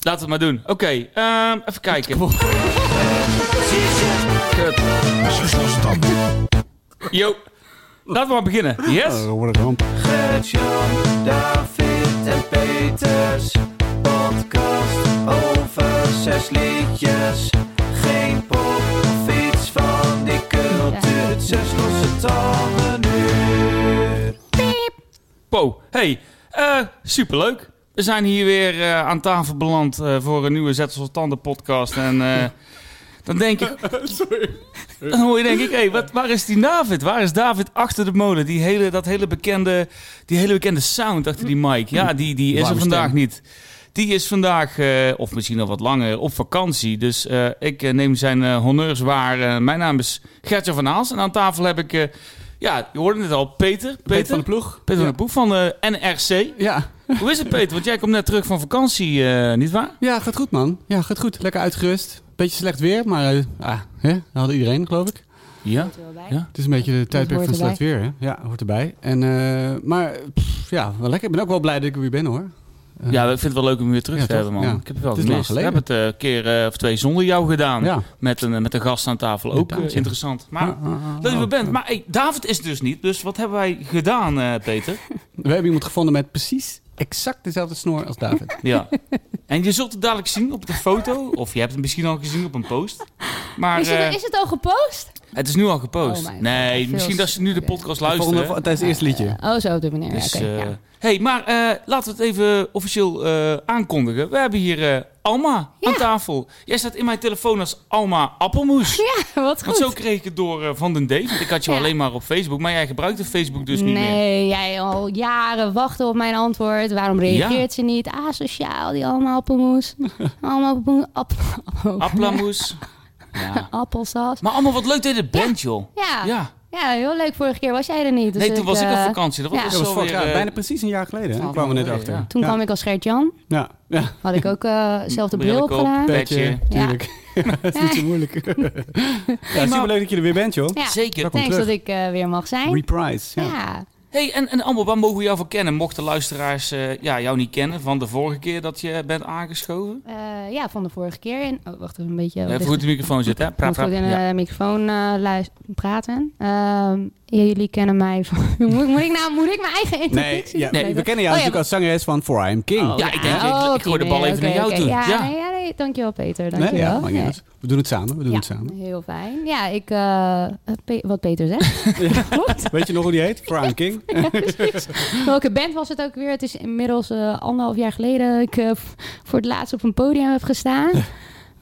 Laten we het maar doen. Oké, ehm, even kijken. Kut. Yo. Laten we maar beginnen. Yes? Dat wordt een ramp. Gert-Jan, David en Peters. Podcast over zes liedjes. Geen pop of iets van die cultuur. Het zes losse tanden nu. Po. Hey, eh, superleuk. We zijn hier weer eh, aan tafel beland eh, voor een nieuwe Zetsel Tanden podcast. En eh, dan denk ik... Dan hoor je denk ik, hey, wat, waar is die David? Waar is David achter de molen? Die hele, dat hele bekende, die hele bekende sound achter die mic. Ja, die, die is er Warme vandaag stem. niet. Die is vandaag, eh, of misschien al wat langer, op vakantie. Dus eh, ik eh, neem zijn eh, honneurs waar. Eh, mijn naam is Gertje van Haals. En aan tafel heb ik, eh, ja, je hoorde het al, Peter. Peter van de ploeg. Peter ja. van de Boek van eh, de NRC. Ja. Hoe is het, Peter? Want jij komt net terug van vakantie, eh, nietwaar? ja, gaat goed man. Ja, gaat goed. Lekker uitgerust. Beetje slecht weer, maar eh, ah, hè? dat had iedereen geloof ik. Ja. Het is een beetje de tijdperk hoort van slecht erbij. weer. Hè? Ja, hoort erbij. En, eh, maar pff, ja, wel lekker. Ik ben ook wel blij dat ik er weer ben hoor. Eh, Ja, ik vind het wel leuk om je weer terug Ja, te hebben, toch? man. Ja. Ik heb het wel Het is lang gemist. Ik heb het eh, een keer eh, of twee zonder jou gedaan. ja. Met, een, met een gast aan tafel. Ook Inderdaad, eh, ja. interessant. Ah, Maar Ah, ah, ah, leuk dat je er ah. bent. Maar hey, David is dus niet. Dus wat hebben wij gedaan, eh, Peter? We hebben iemand gevonden met precies exact dezelfde snor als David. Ja. En je zult het dadelijk zien op de foto. Of je hebt het misschien al gezien op een post. Maar Is, eh, het, is het al gepost? het is nu al Oh gepost. mijn god, nee, veel misschien dat ze nu de oké. podcast De volgende- luisteren. Tijdens het eerste liedje. Oh, zo op die manier. Dus, Oké, eh, ja. hey, maar eh, laten we het even officieel eh, aankondigen. We hebben hier eh, Alma aan tafel. Jij staat in mijn telefoon als Alma Appelmoes. Wat Want goed. zo kreeg ik het door eh, Van den Dave. Want ik had je Ja. alleen maar op Facebook. Maar jij gebruikte Facebook dus niet meer. nee, jij al jaren wachten op mijn antwoord. Waarom reageert ze niet? Asociaal, die allemaal appelmoes. allemaal appelmoes. App Appelmoes. Ja. appelsas. Maar allemaal wat leuk dat je er bent, joh. Ja. ja. Ja. heel leuk. Vorige keer was jij er niet. Dus Nee, toen was ik op eh, vakantie. Dat was, ja. dus Dat was vorig alweer, jaar, eh, bijna precies een jaar geleden. hè? Daar twaalf kwamen we net jaar achter. geleden, Toen Ja. kwam ik als Gert-Jan. Ja, ja. Had ik ook eh, zelf de bril Bril op op. gedaan. Pe- Petje, Petje. tuurlijk. dat is niet zo moeilijk. ja, superleuk dat je er weer bent, joh. Ja, Zeker. Kom thanks terug. dat ik eh, weer mag zijn. Reprise. ja. Ja. Hey, en, en Amber, waar mogen we jou voor kennen? Mochten luisteraars eh, ja, jou niet kennen van de vorige keer dat je bent aangeschoven? Eh, ja, van de vorige keer. En, oh, wacht even een beetje. Even goed de microfoon zitten, hè? Praat, Moet praat. goed in de Ja. microfoon eh, luis- praten. Ehm, ja, jullie kennen mij van... moet, moet, ik nou, moet ik mijn eigen Nee, introductie ja, doen? we kennen jou Oh, ja, natuurlijk als zangeres van For I Am King. Ja, ik denk, ik, Oh, ik gooi de oké, bal nee, even naar oké, jou oké. toe. Ja, Ja, Nee, ja, nee, dankjewel Peter. Nee, Dankjewel. ja, maakt niet Nee. uit. We doen het samen, we doen het samen. heel fijn. Ja, ik, eh, Pe- wat Peter zegt. Klopt. Weet je nog hoe die heet? For I Am King? Welke band was het ook weer? Het is inmiddels eh, anderhalf jaar geleden dat ik eh, f- voor het laatst op een podium heb gestaan. Ja.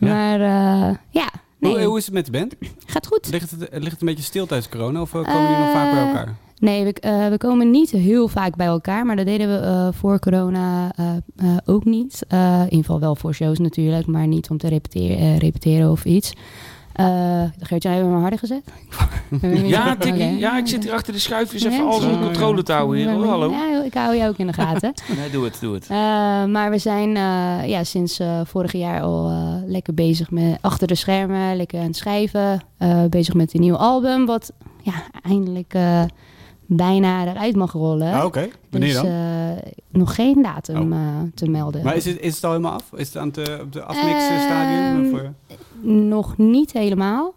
Maar eh, ja, Hoe, nee, hoe is het met de band? gaat goed. Ligt het, eh, ligt het een beetje stil tijdens corona of eh, komen jullie nog vaak bij Eh, elkaar? Nee, we, eh, we komen niet heel vaak bij elkaar. Maar dat deden we eh, voor corona eh, eh, ook niet. Eh, in ieder geval wel voor shows natuurlijk. Maar niet om te repeteren, eh, repeteren of iets. Eh Geert-Jan, hebben we hem harder gezet? Ja, Oké. Tikkie, ja, ik zit hier achter de schuifjes even Ja, alles onder ja. controle te houden hier. Oh, hoor. Hallo. Ja, ik hou je ook in de gaten. Nee, doe het, doe het. Eh, maar we zijn eh, ja, sinds eh vorig jaar al eh, lekker bezig met achter de schermen, lekker aan het schrijven. eh, bezig met een nieuw album, wat ja, eindelijk eh, bijna eruit mag rollen. Ah, Oké, wanneer dus dan? Oh. eh, nog geen datum eh, te melden. maar is het, is het al helemaal af? Is het aan het eh, op de afmixstadium? Ehm, of, eh? Nog niet helemaal.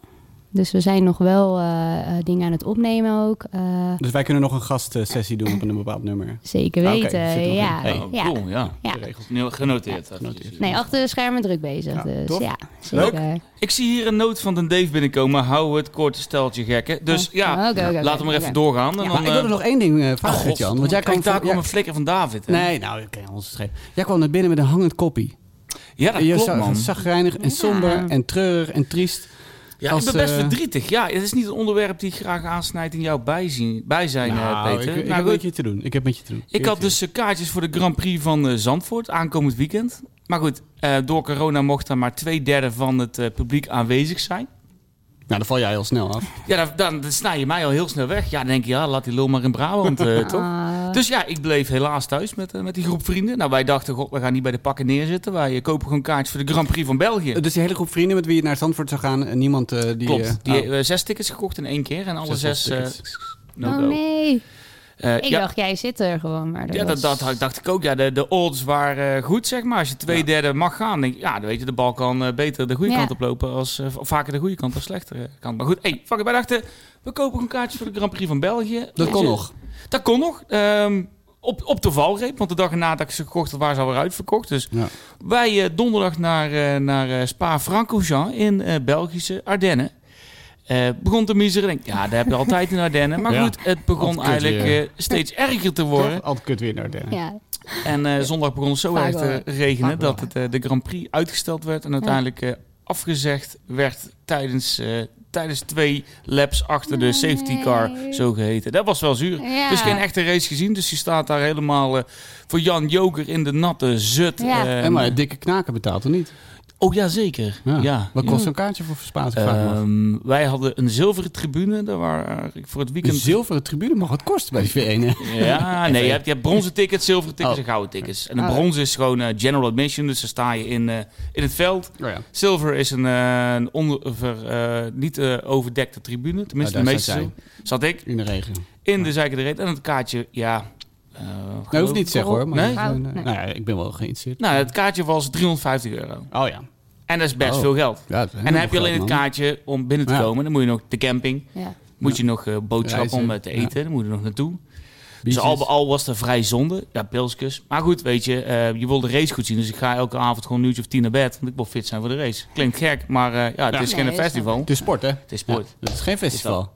Dus we zijn nog wel eh, eh, dingen aan het opnemen ook. Eh, dus wij kunnen nog een gastsessie doen op een bepaald nummer. zeker Ah, Oké, weten. zit er nog ja, in. Hey, Oh, ja. cool, ja. Ja. Geregeld. Nu- Genoteerd. genoteerd. Nee, achter de schermen druk bezig. Ja, dus tof. ja, zeker. Ik zie hier een noot van den Dave binnenkomen. Hou het korte steltje gekken. Dus ja, Oké, oké, oké, laten we maar oké. even doorgaan. En Ja, dan, maar ik wilde eh, nog één ding eh, oh, vragen, god, Jan. Want jij kijk, kwam, daar voor- kwam jij- een flikker van David. hè? Nee, nou, ik kan ons schrijven. Jij kwam naar binnen met een hangend koppie. Ja, dat je klopt, zag- man. zagrijnig en somber en treurig en triest. Ja, als, ik ben best eh, verdrietig. Ja, het is niet een onderwerp die ik graag aansnijd in jouw bijzien, bijzijn, eh, Nou, Peter. Ik, ik Nou, heb goed, met je te doen. Ik heb met je te doen. ik had dus eh, kaartjes voor de Grand Prix van eh, Zandvoort aankomend weekend. Maar goed, eh, door corona mocht daar maar twee derde van het eh, publiek aanwezig zijn. Nou, dan val jij heel snel af. Ja, dan, dan, dan snij je mij al heel snel weg. Ja, dan denk je, ja, laat die lul maar in Brabant, eh, toch? Ah, Dus ja, ik bleef helaas thuis met, eh, met die groep vrienden. Nou, wij dachten, god, we gaan niet bij de pakken neerzitten. Wij eh, kopen gewoon kaartjes voor de Grand Prix van België. Dus die hele groep vrienden met wie je naar Zandvoort zou gaan, en niemand eh, die... Klopt. eh, Die oh, eh, zes tickets gekocht in één keer en alle zes zes... eh, tickets. no oh go. nee. Eh, Ik ja, dacht, jij zit er gewoon. Maar ja, dat, was- dat had- dacht ik ook. Ja, de, de odds waren eh, goed, zeg maar. Als je twee Ja. derde mag gaan, denk ik, ja, dan weet je, de bal kan eh, beter de goede Ja. kant op lopen. Als, eh, v- vaker de goede kant dan slechtere kant. Maar goed, hey, fuck it, wij dachten, we kopen een kaartje voor de Grand Prix van België. Dat Ja. kon nog. Dat kon nog. Ehm, op, op de valreep, want de dag erna dat ik ze gekocht had, waren ze alweer uitverkocht. Dus Ja. wij eh, donderdag naar, eh, naar eh, Spa-Francorchamps in eh, Belgische Ardennen. Eh, begon te miseren. Denk, ik, ja, dat heb je altijd in Ardennen. Maar Ja. goed, het begon Altijd kut eigenlijk weer. eh, steeds erger te worden. Altijd kut weer naar Dennis. Ja, En eh, zondag begon het zo Vaak erg te wel. regenen Vaak wel, dat het, eh, de Grand Prix uitgesteld werd. En uiteindelijk eh, afgezegd werd tijdens, eh, tijdens twee laps achter de safety car, Nee. zo geheten. Dat was wel zuur. ja. Dus geen echte race gezien. Dus je staat daar helemaal eh, voor Jan Joker in de natte zut. Ja. eh, En maar het dikke knaken betaalt er niet. oh ja, zeker. Ja. Ja. Wat kost Ja. zo'n kaartje voor Spaans gevraagd? Ehm, wij hadden een zilveren tribune. Daar waren ik voor het een weekend... zilveren tribune mag het kosten bij de V1. Ja, nee, je hebt, je hebt bronzen tickets, zilveren tickets Oh. en gouden tickets. En de Oh. bronzen is gewoon eh, general admission, dus dan sta je in, eh, in het veld. Oh ja. Silver is een, eh, een onder- eh, niet eh, overdekte tribune, tenminste Oh, de daar meeste. zat Zat, ik In de regen. in de zijkant reet en het kaartje, ja... eh, Nou, hoeft geloof- niet te zeggen hoor. Maar Nee? gewoon, eh, Nee. Nou ja, ik ben wel geïnteresseerd. Nou, het kaartje was 350 euro. Oh ja. En dat is best Oh. veel geld. ja dat is En dan helemaal heb je alleen het groot, man. kaartje om binnen te Ja. komen. Dan moet je nog de camping. ja. Moet je nog eh boodschappen Reizen. om eh, te eten. Dan moet je er nog naartoe. Dus Biertjes. al bij al was dat vrij zonde. Ja, pilskus. Maar goed, weet je, eh, je wil de race goed zien. Dus ik ga elke avond gewoon een uurtje of tien naar bed. Want ik wil fit zijn voor de race. Klinkt gek, maar eh, ja, het Ja. is Nee, geen dat is festival. Het is sport hè? Het is sport. Ja, het is geen festival.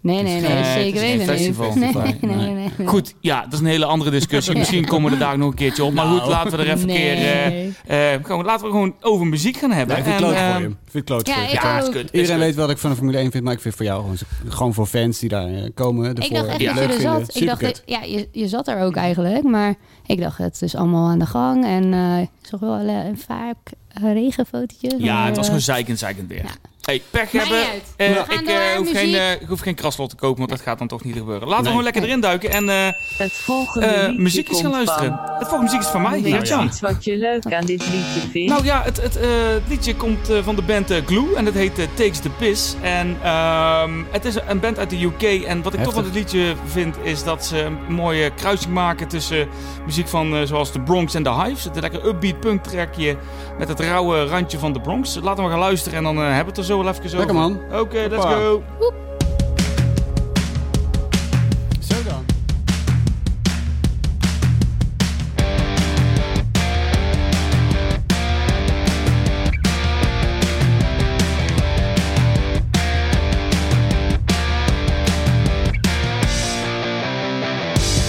Nee, nee, nee, geen- het zeker is geen weten niet. festival. Nee, Nee. nee, nee, nee, nee. Goed, ja, dat is een hele andere discussie. Misschien komen we er daar nog een keertje op. Maar Nou. goed, laten we er even een keer... eh, Nee. eh, gewoon, laten we gewoon over muziek gaan hebben. Ja, ik vind het En, kloot voor ehm, je. Ik vind het kloot Ja, voor je. ik Ja, het is ook. kut. Iedereen weet. weet wat ik van de Formule 1 vind, maar ik vind voor jou gewoon, gewoon voor fans die daar eh, komen. Ervoor, Ik dacht echt die dat het je leuk er vinden. zat. Ik dacht, Superkut. dat- ja, je, je zat er ook eigenlijk. Maar ik dacht, het is allemaal aan de gang. En eh, ik zag wel eh, een vaak regenfotootjes. Ja, maar, het was eh, gewoon zeikend, zeikend weer. Ja. Hey, pech Maakt hebben. niet uit. Eh, We ik gaan eh, door aan hoef, geen, muziek. eh, ik hoef geen kraslot te kopen, want dat gaat dan toch niet gebeuren. Laten we Nee. gewoon lekker erin duiken en eh, Het volgende eh, liedje muziekjes gaan komt luisteren. van- Het volgende muziek is van mij. Weet Nou je ja, iets wat je leuk aan dit liedje vindt? nou, ja het, het eh, het liedje komt eh, van de band eh, Glue en dat heet eh, Takes the Piss. En ehm, het is een band uit de UK. En wat ik toch Heftig. van het liedje vind, is dat ze een mooie kruising maken tussen muziek van eh, zoals The Bronx en The Hives. Het lekker upbeat punk trackje met het rauwe randje van The Bronx. Laten we gaan luisteren en dan eh, hebben we het er zo wel even zo. Lekker man. Oké, let's Hoppa. go. Zo dan.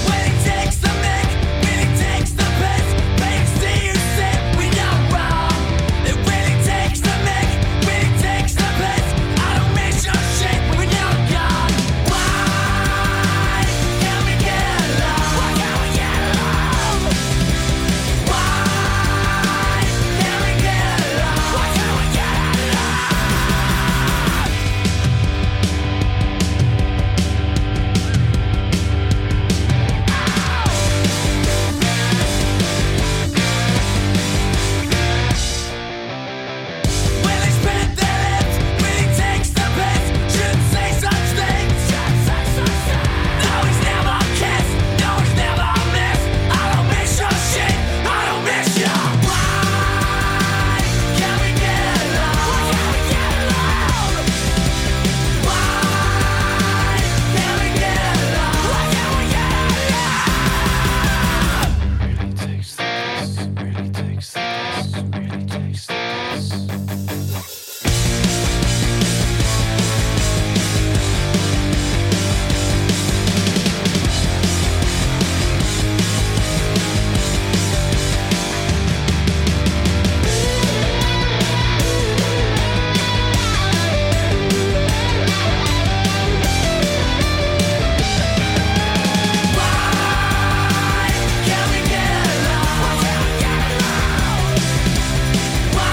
When it takes the mic, when it takes the piss, they see you sit, we not wrong. It really takes the mic, when it takes the piss, I don't miss your shit, we not gone. Why can we get along? Why can't we get along? Why can we get along? Why can't we get along? When they spread their lips, when it takes the piss, shouldn't say such things. No, he's never kissed. No, he's never missed. I don't miss your shit. I don't miss your. Why can't we get along? Why can't we get along? Why can't we get along? Why can't we get along? Can we get along? Why can't we get along? Why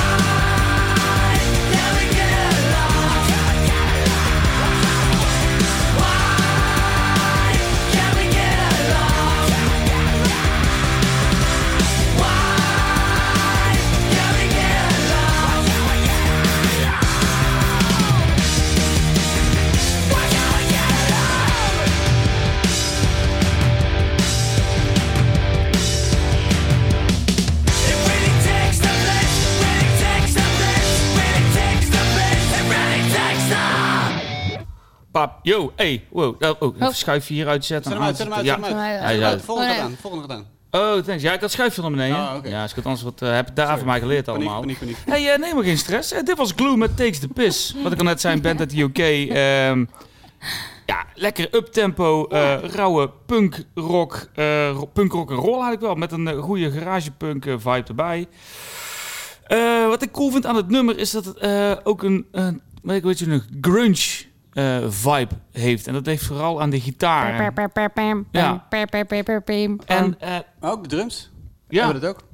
yo, hey, wow. Oh, oh, even Oh. schuifje hieruit zetten. Zet hem uit, zet hem uit, zet hem Ja. uit. Ja, Zet hem ja. uit. Volgende Oh, gaat nee. aan, volgende gaat aan. Ja. Oh, thanks. Ja, ik had schuifje naar beneden. Ah, oké. Ja, is goed, anders wat, eh, heb ik daar van mij geleerd Paniek, allemaal. paniek, paniek. Hey, eh, neem maar geen stress. Eh, dit was Glue met Takes the Piss. Wat ik al net zei, band uit de UK. Ehm, ja, lekker uptempo, eh rauwe punkrock, eh, ro- punkrock en roll had ik wel. Met een eh, goede garagepunk eh, vibe erbij. Eh, wat ik cool vind aan het nummer is dat het eh, ook een, eh, weet ik weet je, een grunge eh, vibe heeft. En dat heeft vooral aan de gitaar. En- Ja. En En... eh, Maar ook de drums. ja, Hebben we dat ook?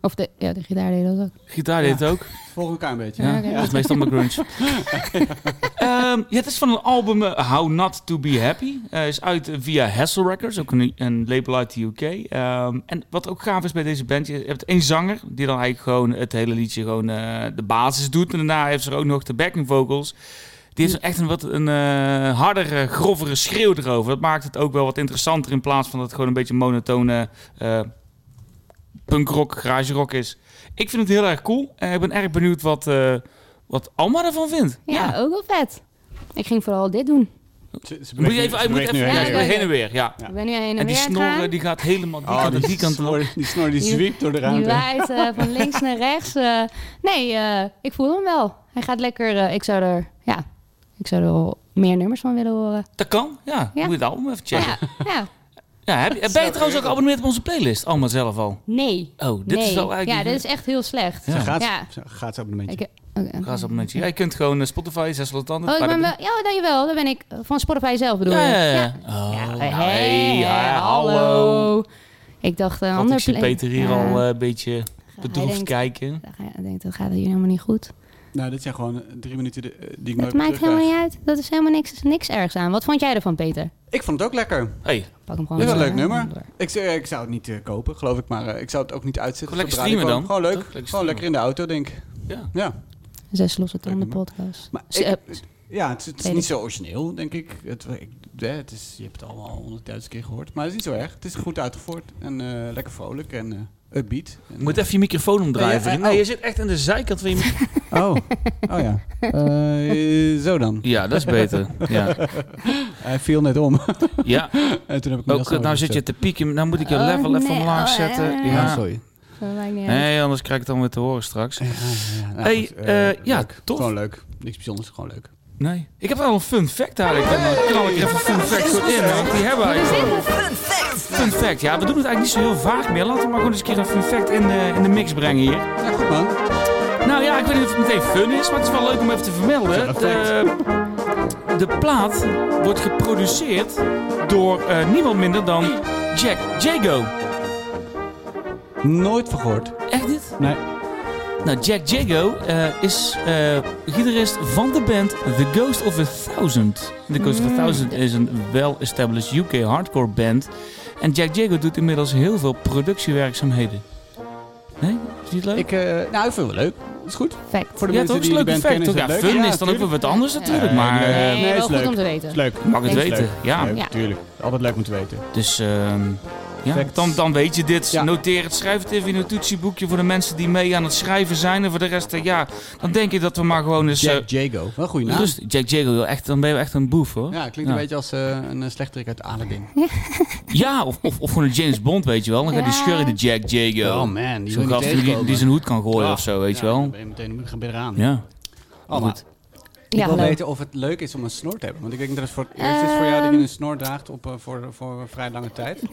Of de, ja, de gitaar deed dat ook. gitaar deed het ook. Volgen elkaar een beetje. Ja, oké. dat is meestal mijn grunge. Ehm, ja, het is van een album eh, How Not To Be Happy. Eh, is uit eh, via Hassel Records, ook een, een label uit de UK. Ehm, en wat ook gaaf is bij deze band, je hebt één zanger... die dan eigenlijk gewoon het hele liedje gewoon eh, de basis doet. En daarna heeft ze er ook nog de backing vocals... Die heeft echt een wat een eh, hardere, grovere schreeuw erover. Dat maakt het ook wel wat interessanter in plaats van dat het gewoon een beetje monotone eh punkrock, garage rock is. Ik vind het heel erg cool. En ik ben erg benieuwd wat, eh, wat Alma ervan vindt. Ja, ook wel vet. Ik ging vooral dit doen. Ze- ze Moet je bewegen- even, ze je moet bewegen even ja, nu heen ze en ja, gaan weer. ja. heen en weer. Ja. Ik ben nu heen en, En die weer aan het snor eh, gaan. die gaat helemaal die Oh, kant en die kant op. snor- Die snor die Die- zwiept door de Die ruimte. waait eh, van links naar rechts. eh. nee, eh, ik voel hem wel. Hij gaat lekker. eh, ik zou er, ja, ik zou er wel meer nummers van willen horen. Dat kan, ja. Ja. Moet je het album even checken. Ja, Ja. ja. heb, je- ben je trouwens ook geabonneerd op onze playlist? Alma zelf al. Nee. Oh, dit nee. is wel eigenlijk... Ja, dit is echt heel slecht. Ja. Ze gaat, Ja. ze gaat ze op een beetje. Ik, oké. Ga eens op een momentje. Ja, je kunt gewoon eh, Spotify, zes tanden. Oh, ik ben wel, ja, dankjewel. Dan ben ik eh, van Spotify zelf bedoel Ja, ik. ja, ja. Ja. Oh, Ja, nou, hey, hey, ja, hallo. Ik dacht een Want ander ik zie plek- Peter hier Ja. al eh, een beetje Hij bedroefd denkt- kijken. Hij denkt, dat gaat hier helemaal niet goed. Nou, dit zijn gewoon eh, drie minuten de- eh, die ik nooit Dat meer maakt terugkrijg. helemaal niet uit. Dat is helemaal niks, niks ergs aan. Wat vond jij ervan, Peter? Ik vond het ook lekker. Hey, Pak hem Dit gewoon. is wel een door, leuk hè? nummer. Door. Ik, zou- ik zou het niet eh, kopen, geloof ik, maar eh, ik zou het ook niet uitzetten. Gewoon als lekker het op de streamen radio dan. kwam. Gewoon Toch? leuk. Lekker Gewoon lekker in de auto, denk ik. ja. Ja. Zes losse Leuk tanden nummer. podcast. Maar Z- ik- eh, Ja, het, is- het is Weet niet ik. zo origineel, denk ik. Het, eh, ik- hè, het is, je hebt het allemaal honderdduizend keer gehoord. Maar het is niet zo erg. Het is goed uitgevoerd en eh, lekker vrolijk en eh upbeat. En, Je moet even je microfoon omdraaien. Ja, eh, ja, vriend. oh. Nee, je zit echt aan de zijkant van je microfoon. Oh, oh ja. Eh, zo dan. Ja, dat is beter. Ja, Hij viel net om. ja. en toen heb ik hem ook heel snel nou zit je gezet. te pieken. Nou moet ik je Oh, level even nee. omlaag Oh, ja, zetten. ja, Ja, ja. Ja, sorry. dat maakt niet uit. Nee, anders krijg ik het dan weer te horen straks. Ja, ja, ja. Nou, Hey, goed, eh, eh, ja, leuk. tof. Gewoon leuk. Niks bijzonders, gewoon leuk. Nee. Ik heb wel een fun fact eigenlijk. Dan knal ik er even een fun fact zo in. Want die hebben we Wat is eigenlijk. dit? Fun fact. Ja, we doen het eigenlijk niet zo heel vaak meer. Laten we maar gewoon eens een keer een fun fact in de, in de mix brengen hier. Ja, goed man. Nou ja, ik weet niet of het meteen fun is, maar het is wel leuk om even te vermelden. Dat is wel De, de plaat wordt geproduceerd door eh, niemand minder dan Jack Jago. Nooit vergehoord. Echt dit? Nee. Nou, Jack Jago eh, is eh, gitarist van de band The Ghost of a Thousand. The Ghost of a Thousand is een well-established UK hardcore band. En Jack Jago doet inmiddels heel veel productiewerkzaamheden. Nee? Is niet leuk? Ik, eh, nou, ik vind het wel leuk. Is goed. Fact. Voor de ja, mensen toch? Is die een leuke de band fact, kennen toch? is Ja, het leuk. fun is dan ook tuurlijk. weer wat anders natuurlijk, Nee, maar... nee. eh, Nee, wel is leuk. goed om te weten. Is leuk. Mag het Leuk. weten, ja. Leuk, Ja. tuurlijk. Altijd leuk om te weten. Dus ehm, ja, Facts. dan, dan weet je dit. Ja. Noteer het, schrijf het even in een toetsieboekje voor de mensen die mee aan het schrijven zijn. En voor de rest, eh, ja, dan denk ik dat we maar gewoon eens... eh, Jack Jago. Wel een goede naam. Rust, Dus Jack Jago, joh, echt, dan ben je echt een boef hoor. Ja, Ja, klinkt een beetje als eh, een eh, slechterik uit Aladdin. of, of, of gewoon een James Bond, weet je wel. Dan gaat die Ja. schurren de Jack Jago. Oh man, die Zo'n gast die, wil je niet die, tegenkomen. die zijn hoed kan gooien Ja, of zo, weet je ja, wel. Dan ben je meteen dan ben je eraan. Ja. Allemaal. Goed. Oh, Ik Ja, wil leuk. weten of het leuk is om een snor te hebben. Want ik denk dat het voor het eerst is voor jou Ehm. dat je een snor draagt op, eh, voor, voor vrij lange tijd.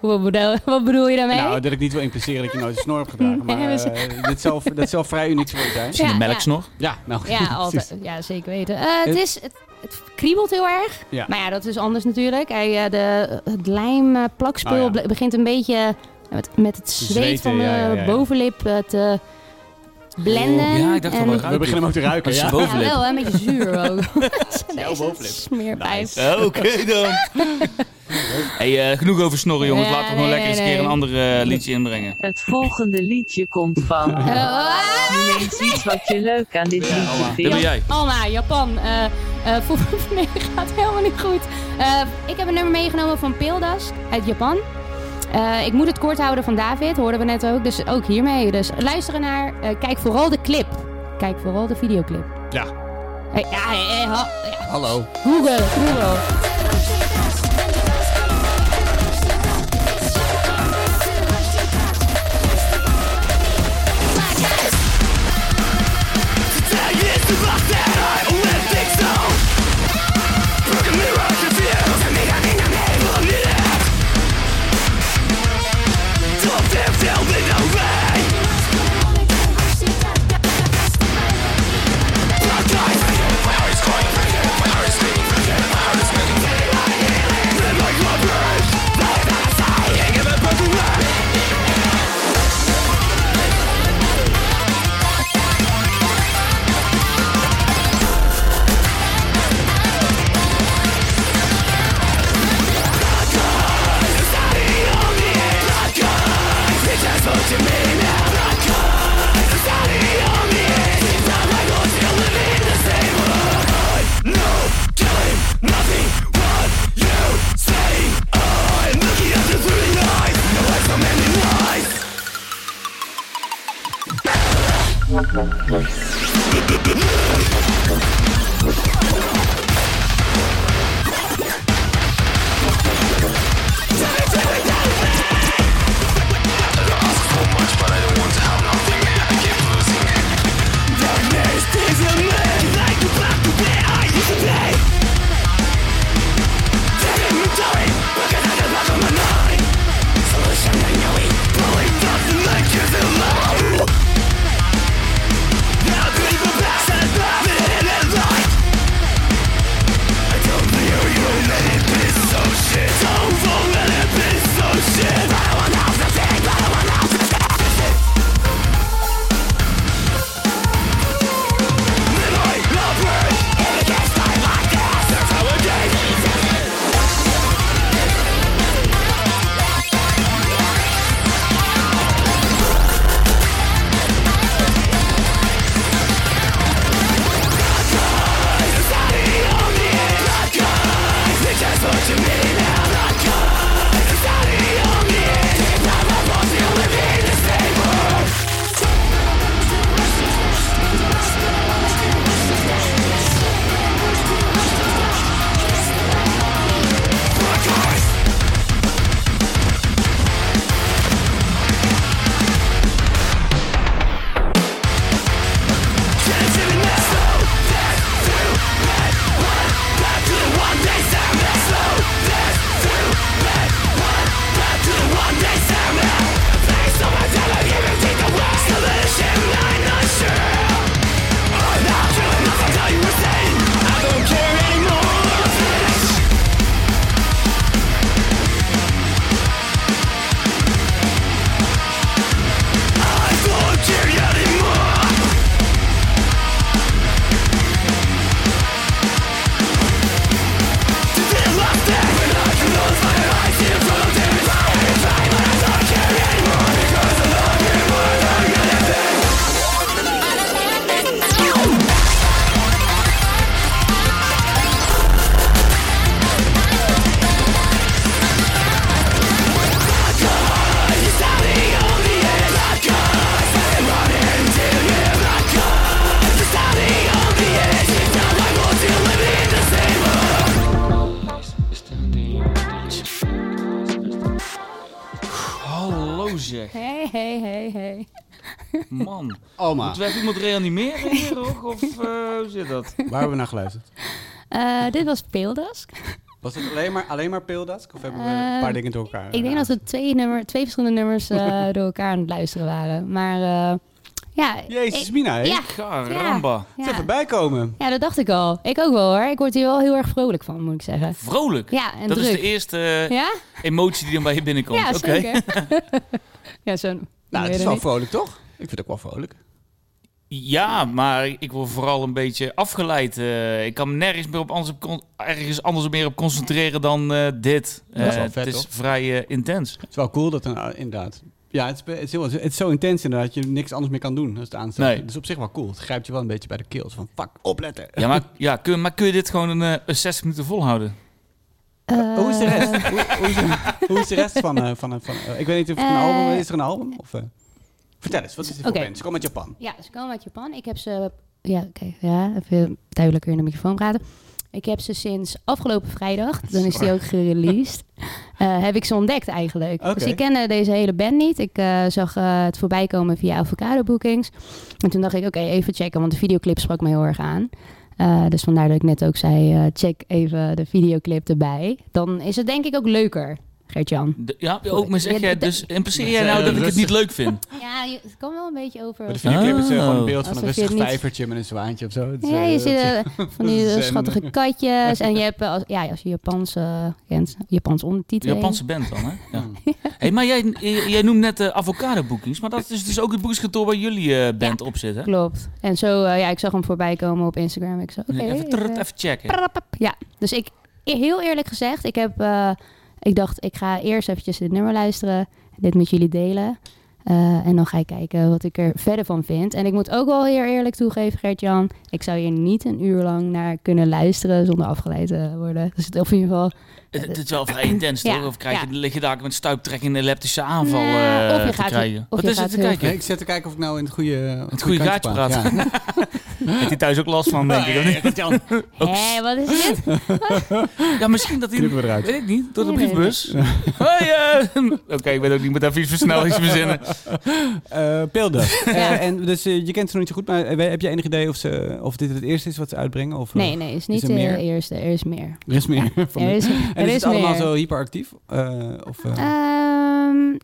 wat, bedoel, wat bedoel je daarmee? Nou, dat ik niet wil impliceren dat je nooit een snor hebt gedragen. Maar Nee, we eh, dit, zal, dat zal vrij uniek voor je zijn. Misschien Ja, een ja. melksnor. Ja, nou, ja, altijd. ja, zeker weten. Eh, het, Het- is, het, het kriebelt heel erg. Ja. Maar ja, dat is anders natuurlijk. Hij, eh, de, het lijm, eh, plakspul Oh ja. ble- begint een beetje met, met het zweet Zweten, van de ja, ja, Oh, ja, ja. bovenlip eh, te blenden. Ja, ik dacht En- al wel We beginnen hem ook te ruiken. Als je Ja. boven- bovenlip. Ja, wel, hè, een beetje zuur ook. Jouw bovenlip. Smeerpijp. Oké Oh, dan. Hey, eh, genoeg over snorren jongens. Ja, Laten we gewoon nee, lekker eens een nee, keer een nee. ander eh, liedje inbrengen. Het volgende liedje komt van. Oh. Eh, ah! Noem eens iets wat je leuk aan dit liedje Dit ben vindt. jij. Alma, Japan. eh eh, voor nee, gaat helemaal niet goed. Eh, ik heb een nummer meegenomen van Pildas uit Japan. Eh, ik moet het kort houden van David, hoorden we net ook. Dus ook hiermee. Dus luisteren naar. eh, kijk vooral de clip. Kijk vooral de videoclip. Ja. Ja, Hey, ja, hey, hey, ha- ja, Hallo. Google, Google. Hallo zeg. Hey, hey, hey, hey. Man. Oma, Moeten we even iemand reanimeren hier ook? Of eh, hoe zit dat? waar hebben we naar geluisterd? Eh, dit was Peeldask. Was het alleen maar, alleen maar Pildask? Of hebben we Eh, een paar dingen door elkaar? Ik denk dat we twee, nummer, twee verschillende nummers eh, door elkaar aan het luisteren waren. Maar eh, ja. Jezus, ik- Mina, hè? Ja. Caramba. Het is even Ja. bijkomen. Nou, ja, dat dacht ik al. Ik ook wel hoor. Ik word hier wel heel erg vrolijk van, moet ik zeggen. Vrolijk. Ja, en dat is druk. de eerste eh, Ja? emotie die dan bij je binnenkomt. Ja, Oké. zeker. ja, zo'n... Nou, het ik is weet wel niet. vrolijk, toch? Ik vind het ook wel vrolijk. Ja, maar ik word vooral een beetje afgeleid. eh, ik kan me nergens meer op anders op con- ergens anders meer op concentreren dan eh, dit. Dat is Eh, wel vet, het is toch? vrij eh, intens. Het is wel cool dat dan, ah, inderdaad. Ja, het is, het, is heel, het is zo intens inderdaad dat je niks anders meer kan doen als het aanstaat. Nee. Dus op zich wel cool. Het grijpt je wel een beetje bij de keel. Zo Van fuck, opletten. Ja, maar, ja, kun, maar kun je dit gewoon een, eh, 60 minuten volhouden? Eh, hoe is de rest? hoe, hoe, is de, hoe is de rest van... eh, van, van eh, ik weet niet of het een Eh, album is. Is er een album? Of, eh, vertel eens, wat is dit Oké. voor band? Ze komen uit Japan. Ja, ze komen uit Japan. Ik heb ze Ja, kijk, ja, even duidelijker in de microfoon praten. Ik heb ze sinds afgelopen vrijdag, dan is die ook gereleased, eh, heb ik ze ontdekt eigenlijk. Oké. Dus ik kende deze hele band niet. Ik eh, zag eh, het voorbij komen via Avocado Bookings. En toen dacht ik, oké, even checken, want de videoclip sprak me heel erg aan. Eh, dus vandaar dat ik net ook zei, eh, check even de videoclip erbij. Dan is het denk ik ook leuker, Gert-Jan. De- ja, ook maar zeg Ja, jij de- dus... Impliceer Maar jij zeg, nou dat ik het eh, rustig. niet leuk vind? Ja, je- het kan wel een beetje over... Maar de videoclip is eh, Oh. gewoon een beeld van een Alsof je rustig het niet- vijvertje met een zwaantje of zo. Het is, Ja, eh, je ziet het- eh, van die eh, Zen. schattige katjes. En je hebt, eh, als, ja, als je Japans eh, kent, Japans De ondertiteling. Japanse band dan, hè? Ja. Hmm. Hey, maar jij, eh, jij jij noemt net de avocado bookings, maar dat is dus ook het boekingskantoor waar jullie eh, band op zit, hè? Klopt. En zo, eh, ja, ik zag hem voorbij komen op Instagram. Ik zo, oké. even, eh, trut, even checken. prapap. Ja, dus ik, heel eerlijk gezegd, ik heb, eh, ik dacht, ik ga eerst eventjes dit nummer luisteren. Dit met jullie delen. Eh, en dan ga ik kijken wat ik er verder van vind. En ik moet ook wel heel eerlijk toegeven, Gert-Jan. Ik zou hier niet een uur lang naar kunnen luisteren zonder afgeleid te worden. Dus het- of in ieder geval Het, het is wel vrij intens, Ja, toch? Of krijg je, ja. lig je daar met stuiptrekking en epileptische aanval Nee, eh, of je te gaat- krijgen? of Wat je is het gaat te heel kijken? Nee, ik zet te kijken of ik nou in het goede Het goede gaatje praat. Heeft hij thuis ook last van, denk ik. of niet? Hé, wat is dit? Ja, misschien dat hij... Knippen we eruit. Weet ik niet, door de Nee, nee, briefbus. Hey, eh, Oké, ik weet ook niet met adviesversnellings verzinnen. Eh Pilde. Ja. Eh, en dus eh, je kent ze nog niet zo goed, maar eh, heb jij enig idee of, ze, of dit het eerste is wat ze uitbrengen? Of, eh, Nee, nee, is niet er de meer? eerste. Er is meer. Er is meer van Er dit. is, En er is, is het allemaal meer. zo hyperactief? Eh, of, eh, Ehm,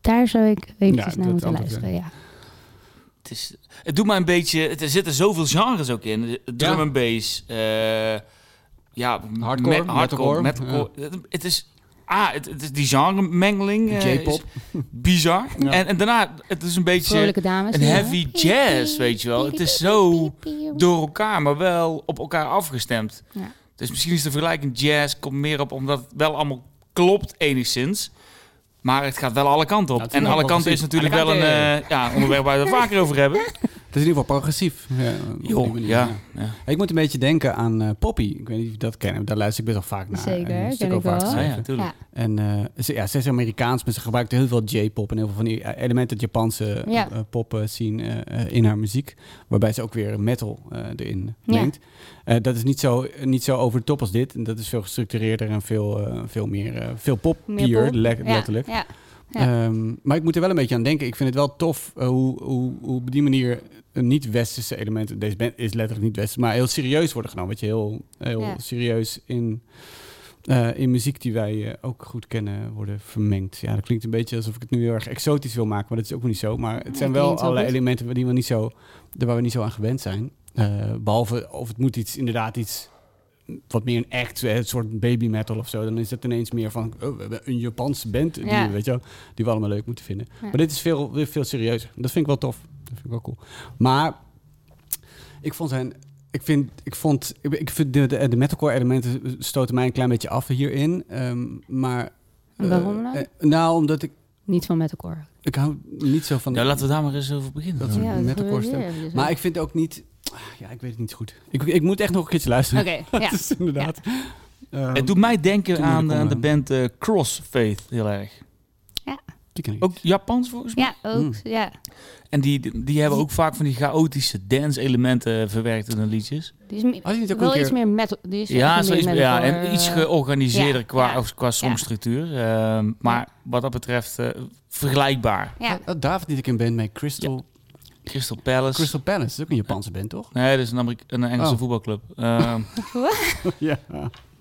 daar zou ik eventjes Ja, naar dat moeten antwoord, luisteren, ja. Het, is, het doet mij een beetje... het- er zitten zoveel genres ook in. De- Drum Ja. and bass. eh, ja, Hardcore, met- hardcore, metalcore, metalcore. Het, het is... Ah, het, het is die genremengeling. eh, J-pop. is Bizar. Ja. En, en daarna, het is een beetje Vrolijke dames. een ja. heavy jazz, weet je wel. Het is zo door elkaar, maar wel op elkaar afgestemd. Ja. Dus misschien is de vergelijking jazz komt meer op omdat het wel allemaal klopt enigszins. Maar het gaat wel alle kanten op. Nou, het is en wel alle kanten is progressief. natuurlijk Alle wel een kanten. eh, ja, onderwerp waar we het vaker over hebben. Het is in ieder geval progressief. Ja, op die Joh, manier, ja, ja. ja. Ik moet een beetje denken aan eh, Poppy. Ik weet niet of je dat kent. Daar luister ik best wel vaak naar. eh, Zeker, En een stuk ken ik over wel. Ja, uitgeschreven. ja, tuurlijk. Ja. En eh, ze, ja, ze is Amerikaans, maar ze gebruikt heel veel J-pop en heel veel van die eh, elementen uit Japanse Ja. eh, pop eh, scene eh, eh, in haar muziek. Waarbij ze ook weer metal eh, erin Ja. mengt. Eh, dat is niet zo, niet zo over de top als dit. En dat is veel gestructureerder en veel, eh, veel meer eh, veel pop Meer puur, pop. le- Ja, letterlijk. Ja, Ehm, maar ik moet er wel een beetje aan denken. Ik vind het wel tof eh, hoe, hoe, hoe op die manier een niet-westerse elementen, deze band is letterlijk niet westers, maar heel serieus worden genomen. Weet je, heel, heel Ja. serieus in, eh, in muziek die wij eh, ook goed kennen worden vermengd. Ja, dat klinkt een beetje alsof ik het nu heel erg exotisch wil maken, maar dat is ook niet zo. Maar het Nee, zijn klinkt wel wel allerlei goed. elementen die we niet zo, waar we niet zo aan gewend zijn. Eh, behalve of het moet iets, inderdaad iets wat meer een act, hè, een soort baby metal of zo. Dan is het ineens meer van, oh, we hebben een Japanse band, die, Ja. weet je wel, die we allemaal leuk moeten vinden. Ja. Maar dit is veel, weer veel serieuzer. Dat vind ik wel tof. Dat vind ik wel cool. Maar ik vond zijn... Ik vind, ik vond, ik, ik vind de, de, de metalcore elementen stoten mij een klein beetje af hierin. ehm, maar... eh, Waarom dan? eh, nou, omdat ik, niet van metalcore. ik hou niet zo van... de- Nou, laten we daar maar eens over beginnen. Dat is- dan. Ja, dat metalcore gebeurt stem. hier dus eventjes, Maar hè. ik vind ook niet... ah, Ja, ik weet het niet zo goed. Ik, ik moet echt nog een keertje luisteren. Oké, ja. Dat is inderdaad... ehm, Het doet mij denken Toen moet ik aan, eh, aan de omgaan. band eh, Crossfaith heel erg. die ken ik. Ook Japans volgens mij. Ja, ook, Hmm. ja. En die, die hebben ook vaak van die chaotische dance-elementen verwerkt in hun liedjes. Die is meer- Had je niet ook wel een iets keer- meer metal. Die is Ja, echt meer zoiets, ja, metalcore, en iets eh, georganiseerder ja, qua, ja, of qua songstructuur. Ehm, maar wat dat betreft eh, vergelijkbaar. Ja, Had eh, David niet ook een band met Crystal, Crystal Palace. Crystal Palace. Dat is ook een Japanse band, toch? Nee, dat is een, Amerika- een Engelse Oh. voetbalclub. Ehm, ja.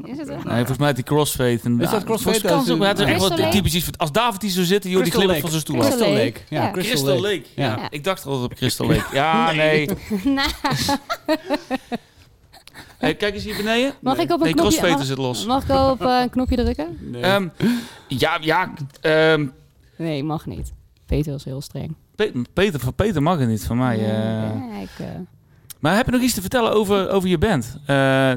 is het wel? nee, volgens mij is die Crossfade. En, Is dat ja, Crossfade? volgens- kan Dat is ze ook, maar het is echt Crystal wel Lake? typisch iets van- Als David hier zo zit, joh, die glipt van zijn stoel. af. Crystal Crystal Lake. Lake. Ja, Ja. Crystal, Crystal Lake. Lake. Ja. Ja. Ik dacht altijd op Crystal Lake. Ja, nee. Nou, Hey, kijk eens hier beneden. mag ik op een Nee, knopje... Crossfade Mag, is het los. mag ik op eh, een knopje drukken? Nee. Ehm, ja, ja. ehm, Nee, mag niet. Peter was heel streng. Pe- Peter, van Peter mag het niet, van mij. eh. Ja, ik... eh, Maar heb je nog iets te vertellen over, over je band? Eh,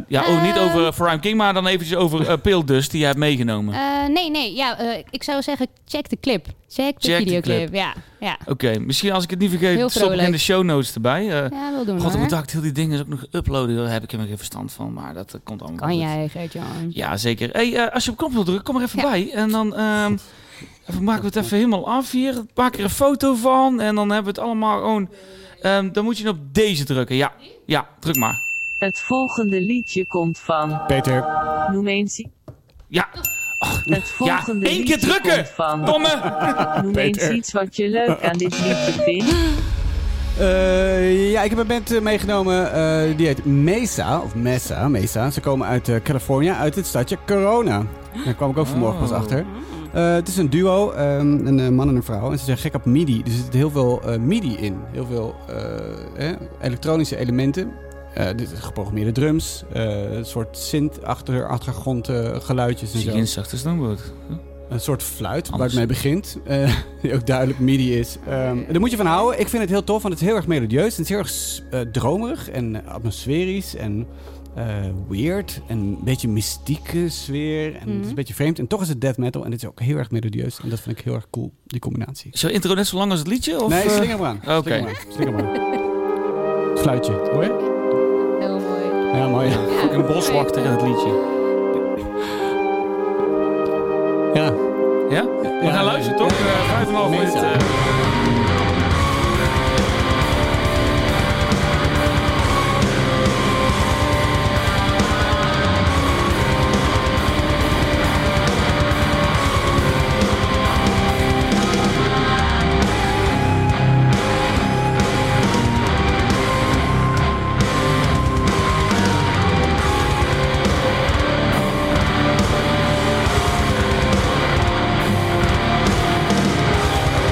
ja, ook niet Ehm. over Prime King, maar dan eventjes over eh, Pale Dust die jij hebt meegenomen. Eh, nee, nee. Ja, eh, ik zou zeggen, check de clip. Check de Check de videoclip. clip. Ja, ja. Oké, misschien als ik het niet Heel vergeet, stop ik in vrolijk. de show notes erbij. Eh, Ja, wil God, ik doen hoor. moet eigenlijk heel die dingen ook nog uploaden. Daar heb ik helemaal geen verstand van, maar dat eh, komt allemaal Kan goed. jij, Gert-Jan. Ja, zeker. Hey, eh, als je op knop wil drukken, kom er even bij. En dan ehm, Even maken we het even helemaal af hier. Maak er een foto van en dan hebben we het allemaal gewoon... Ehm, dan moet je op deze drukken. Ja, ja, druk maar. Het volgende liedje komt van. Peter. Noem eens. i- Ja, Het volgende één keer liedje drukken! komt van. domme! Noem eens Peter. iets wat je leuk aan dit liedje vindt. Eh, ja, ik heb een band eh, meegenomen. eh, die heet Mesa. Of Mesa, Mesa. Ze komen uit eh, Californië, uit het stadje Corona. Daar kwam ik ook vanmorgen pas Oh. achter. Eh, het is een duo, ehm, een eh, man en een vrouw. En ze zijn gek op MIDI. Dus er zit heel veel eh, MIDI in. Heel veel eh, eh, elektronische elementen. Eh, dit is geprogrammeerde drums. eh, een soort synth achter, achtergrond eh, geluidjes en Zie zo. je in zachte stoomboot. Een soort fluit waar Anders. het mee begint. eh, die ook duidelijk midi is. Ehm daar moet je van houden. Ik vind het heel tof, want het is heel erg melodieus. En het is heel erg s- eh, dromerig en eh, atmosferisch en eh, weird. En een beetje mystieke sfeer. En het is Mhm. een beetje vreemd. En toch is het death metal. En het is ook heel erg melodieus. En dat vind ik heel erg cool, die combinatie. Is jouw intro net zo lang als het liedje? Of, nee, eh, slinger maar aan. Slinger oké. maar aan. Slinger maar aan. Fluitje. Hoor je? Heel mooi. Ja, mooi. Ja. Ook een boswachter in het liedje. ja. Ja? We gaan luisteren, toch? Eh, Vijf en een half Mesa. minuut. eh,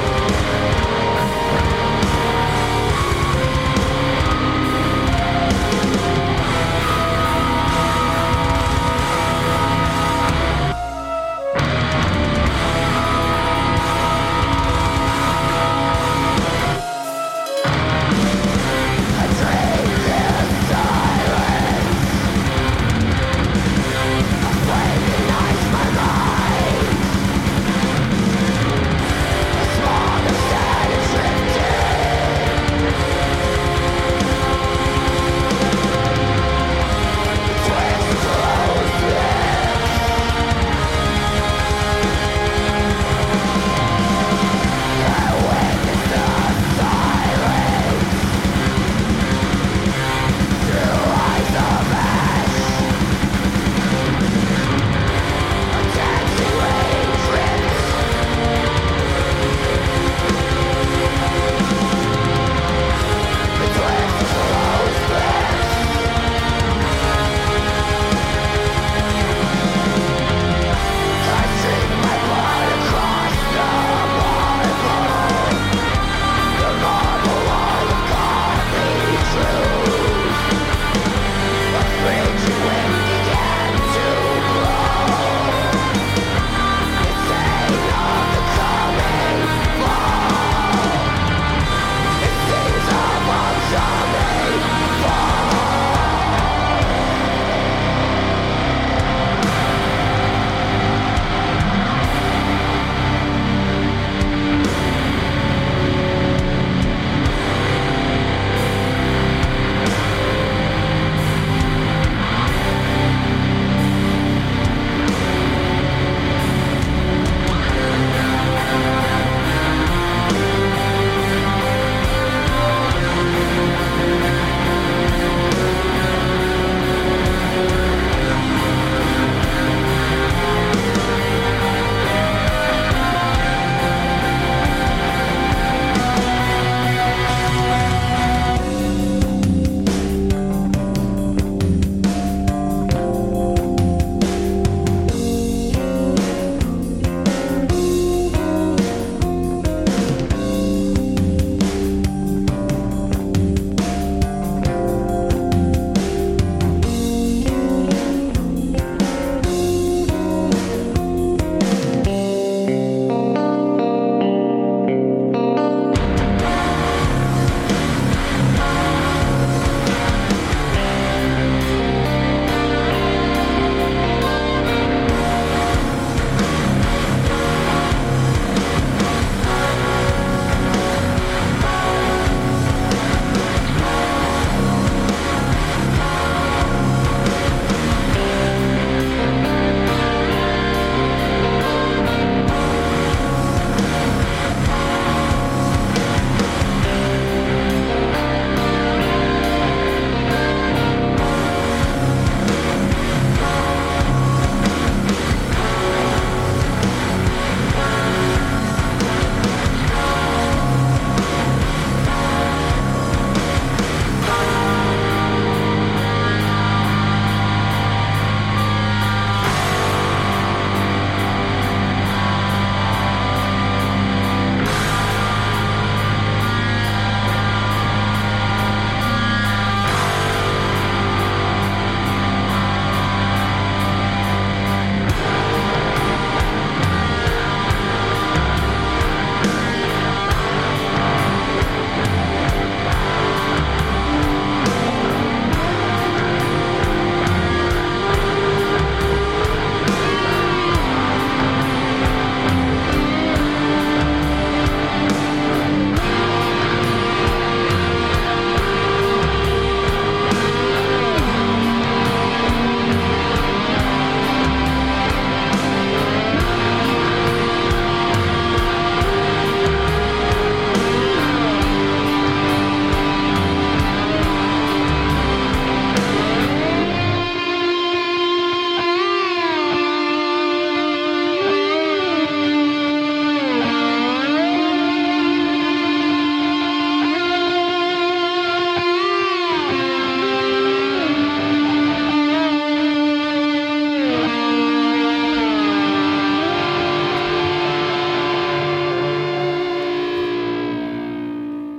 Thank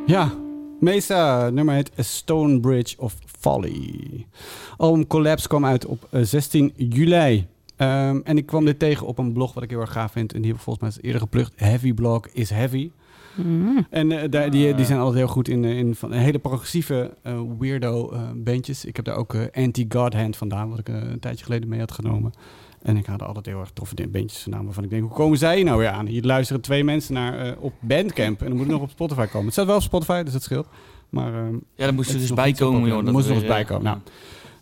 Ja, Mesa, nummer heet A Stone Bridge of Folly. Album Collapse kwam uit op eh, 16 juli. Ehm, en ik kwam dit tegen op een blog wat ik heel erg gaaf vind. En die heb ik volgens mij eens eerder geplukt. Heavy Blog is Heavy. Mm. En eh, daar, die, die zijn altijd heel goed in, eh, in van hele progressieve eh, weirdo eh, bandjes. Ik heb daar ook eh, Anti-God Hand vandaan, wat ik eh, een tijdje geleden mee had genomen. En ik had altijd heel erg toffe din- bandjes vandaan, waarvan ik denk, hoe komen zij hier nou weer aan? Hier luisteren twee mensen naar eh, op Bandcamp en dan moet het nog op Spotify komen. Het staat wel op Spotify, dus dat scheelt. Maar ehm, Ja, dan moest Het er is dus nog bij niet zo komen, populair. joh. Er moest nog eens bij eens komen. Nou,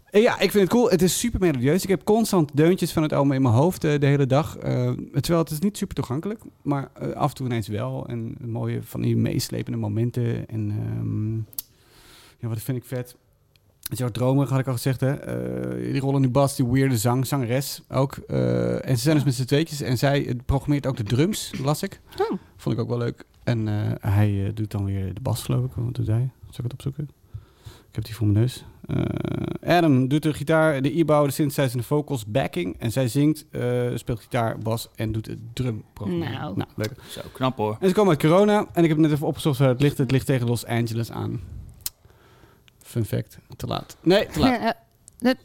eh, ja, ik vind het cool. Het is super melodieus. Ik heb constant deuntjes van het album in mijn hoofd eh, de hele dag. Eh, terwijl het is niet super toegankelijk, maar eh, af en toe ineens wel. En mooie van die meeslepende momenten. En ehm, ja, wat vind ik vet. Jouw dromen, had ik al gezegd, hè? Eh, die rollen nu bas, die weirde zang, zangeres ook. Eh, en ze zijn dus met z'n tweetjes. En zij eh, programmeert ook de drums, las ik. Oh. Vond ik ook wel leuk. En eh, hij eh, doet dan weer de bas, geloof ik. Wat doet hij? Zal ik het opzoeken? Ik heb die voor mijn neus. Eh, Adam doet de gitaar, de e-bow, de synthesizer en de vocals, backing. En zij zingt, eh, speelt gitaar, bas en doet het drum. Nou. nou, leuk. Zo, knap hoor. En ze komen uit corona. En ik heb net even opgezocht waar het ligt. Het ligt tegen Los Angeles aan. Fun fact. Te laat. Nee, te laat. Eh, eh,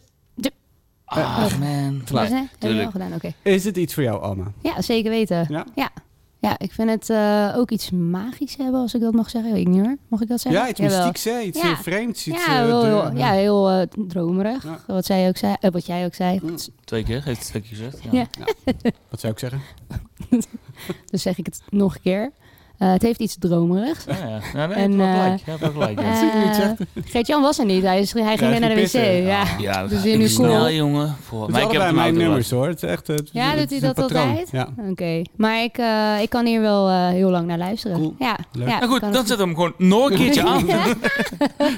Ah, man. Te laat. dus, hè, heb je wel tuurlijk. gedaan, oké. Is het iets voor jou, Alma? Ja, zeker weten. Ja? Ja, ik vind het eh, ook iets magisch hebben, als ik dat mag zeggen. Weet ik niet hoor. Mag ik dat zeggen? Ja, iets Jawel. mystieks, hè? Iets Ja. eh, vreemds. Iets, ja, eh, wel heel, de- ja, heel eh, dromerig. Ja. Wat, zij ook zei, eh, wat jij ook zei. Mm. Twee keer heeft het stukje gezegd. Ja. Ja. Wat zou ik zeggen? Dus zeg ik het nog een keer. Eh, het heeft iets dromerigs. Ja, ja. Ja, nee, En, en, eh, gelijk. Je hebt wel gelijk. ja. Eh, Geert-Jan was er niet. Hij, is, hij ging hij weer naar de ging wc. pissen. Ja. Ah. Ja, Dus dus in uw snel, kool. jongen. Voor Het zijn ik heb allebei het mijn nou nummers, hoor. Het is echt, eh, het is- Ja, het doet hij is een dat patroon. altijd? Ja. Oké. Maar ik, eh, ik kan hier wel eh, heel lang naar luisteren. Cool. Ja. Leuk. ja, Nou goed, kan dan het- zet hem gewoon nog een keertje aan.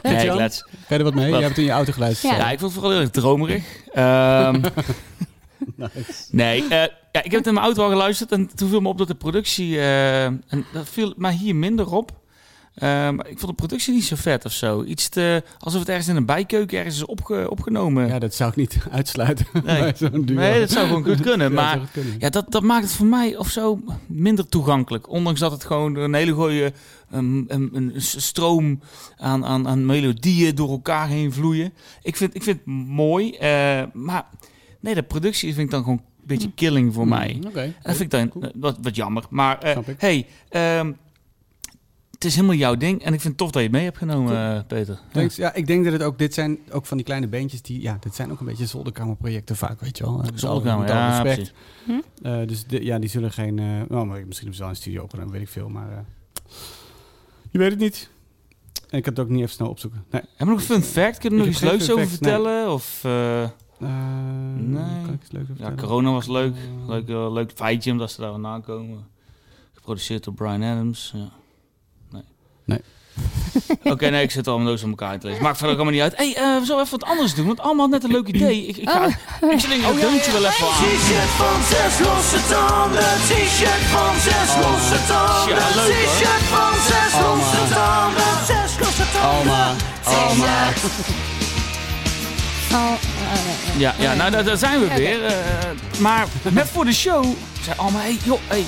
Nee, Jan? klets. Ga je er wat mee? Wat? Jij hebt in je auto geluisterd. Ja. Ja. ik vond het vooral heel erg dromerig. Ehm, Nee, eh, ja, ik heb het in mijn auto al geluisterd en toen viel me op dat de productie... eh, en dat viel mij hier minder op. Eh, maar ik vond de productie niet zo vet of zo. Iets te, alsof het ergens in een bijkeuken ergens is opge- opgenomen. Ja, dat zou ik niet uitsluiten. Nee. bij zo'n duo. nee, dat zou gewoon goed Ja, kunnen. dat maar zou goed kunnen. Ja, dat, dat maakt het voor mij of zo minder toegankelijk. Ondanks dat het gewoon een hele gooie um, een, een s- stroom aan, aan, aan melodieën door elkaar heen vloeien. Ik vind, ik vind het mooi, eh, maar nee, de productie vind ik dan gewoon een Mm. beetje killing voor mij. Hmm, Oké. Dat vind ik dan eh, wat, wat jammer. Maar eh, Snap ik. hey, ehm, het is helemaal jouw ding en ik vind het tof dat je het mee hebt genomen, eh, Peter. Thanks. Ja, ik denk dat het ook, dit zijn ook van die kleine bandjes die, ja, dit zijn ook een beetje zolderkamerprojecten vaak, weet je wel. Eh, met alle- Zonnekamer, met alle ja, respect. precies. Eh, dus de- ja, die zullen geen. eh, nou, maar misschien hebben ze wel een studio openen, weet ik veel. Maar eh, je weet het niet. En ik kan het ook niet even snel opzoeken. Nee. Hebben we nog een fun fact? Kunnen we Ik nog heb iets leuks geen fun over facts, nee. vertellen? Of, eh, Eh, Nee. Kan ik iets leuks over Ja, vertellen? corona was leuk. Eh, Leuk, eh, leuk feitje omdat ze daar vandaan komen. Geproduceerd door Brian Adams. Ja. Nee. Nee. Oké, nee, ik zit al mijn doos aan elkaar te lezen. Maakt verder ook allemaal niet uit. hey, eh, we zullen even wat anders doen. Want allemaal net een leuk idee. Ik, ik, Oh. ga, ik zit in een deuntje wel even aan. T-shirt van zes losse tanden, t-shirt van zes losse tanden, tja, leuk, hoor. t-shirt van zes losse tanden, zes losse tanden. T-shirt. Oh, eh, nee, nee. Ja, ja nou, daar, daar zijn we Oké. weer. eh, maar net voor de show zei allemaal... Hey, joh, hey,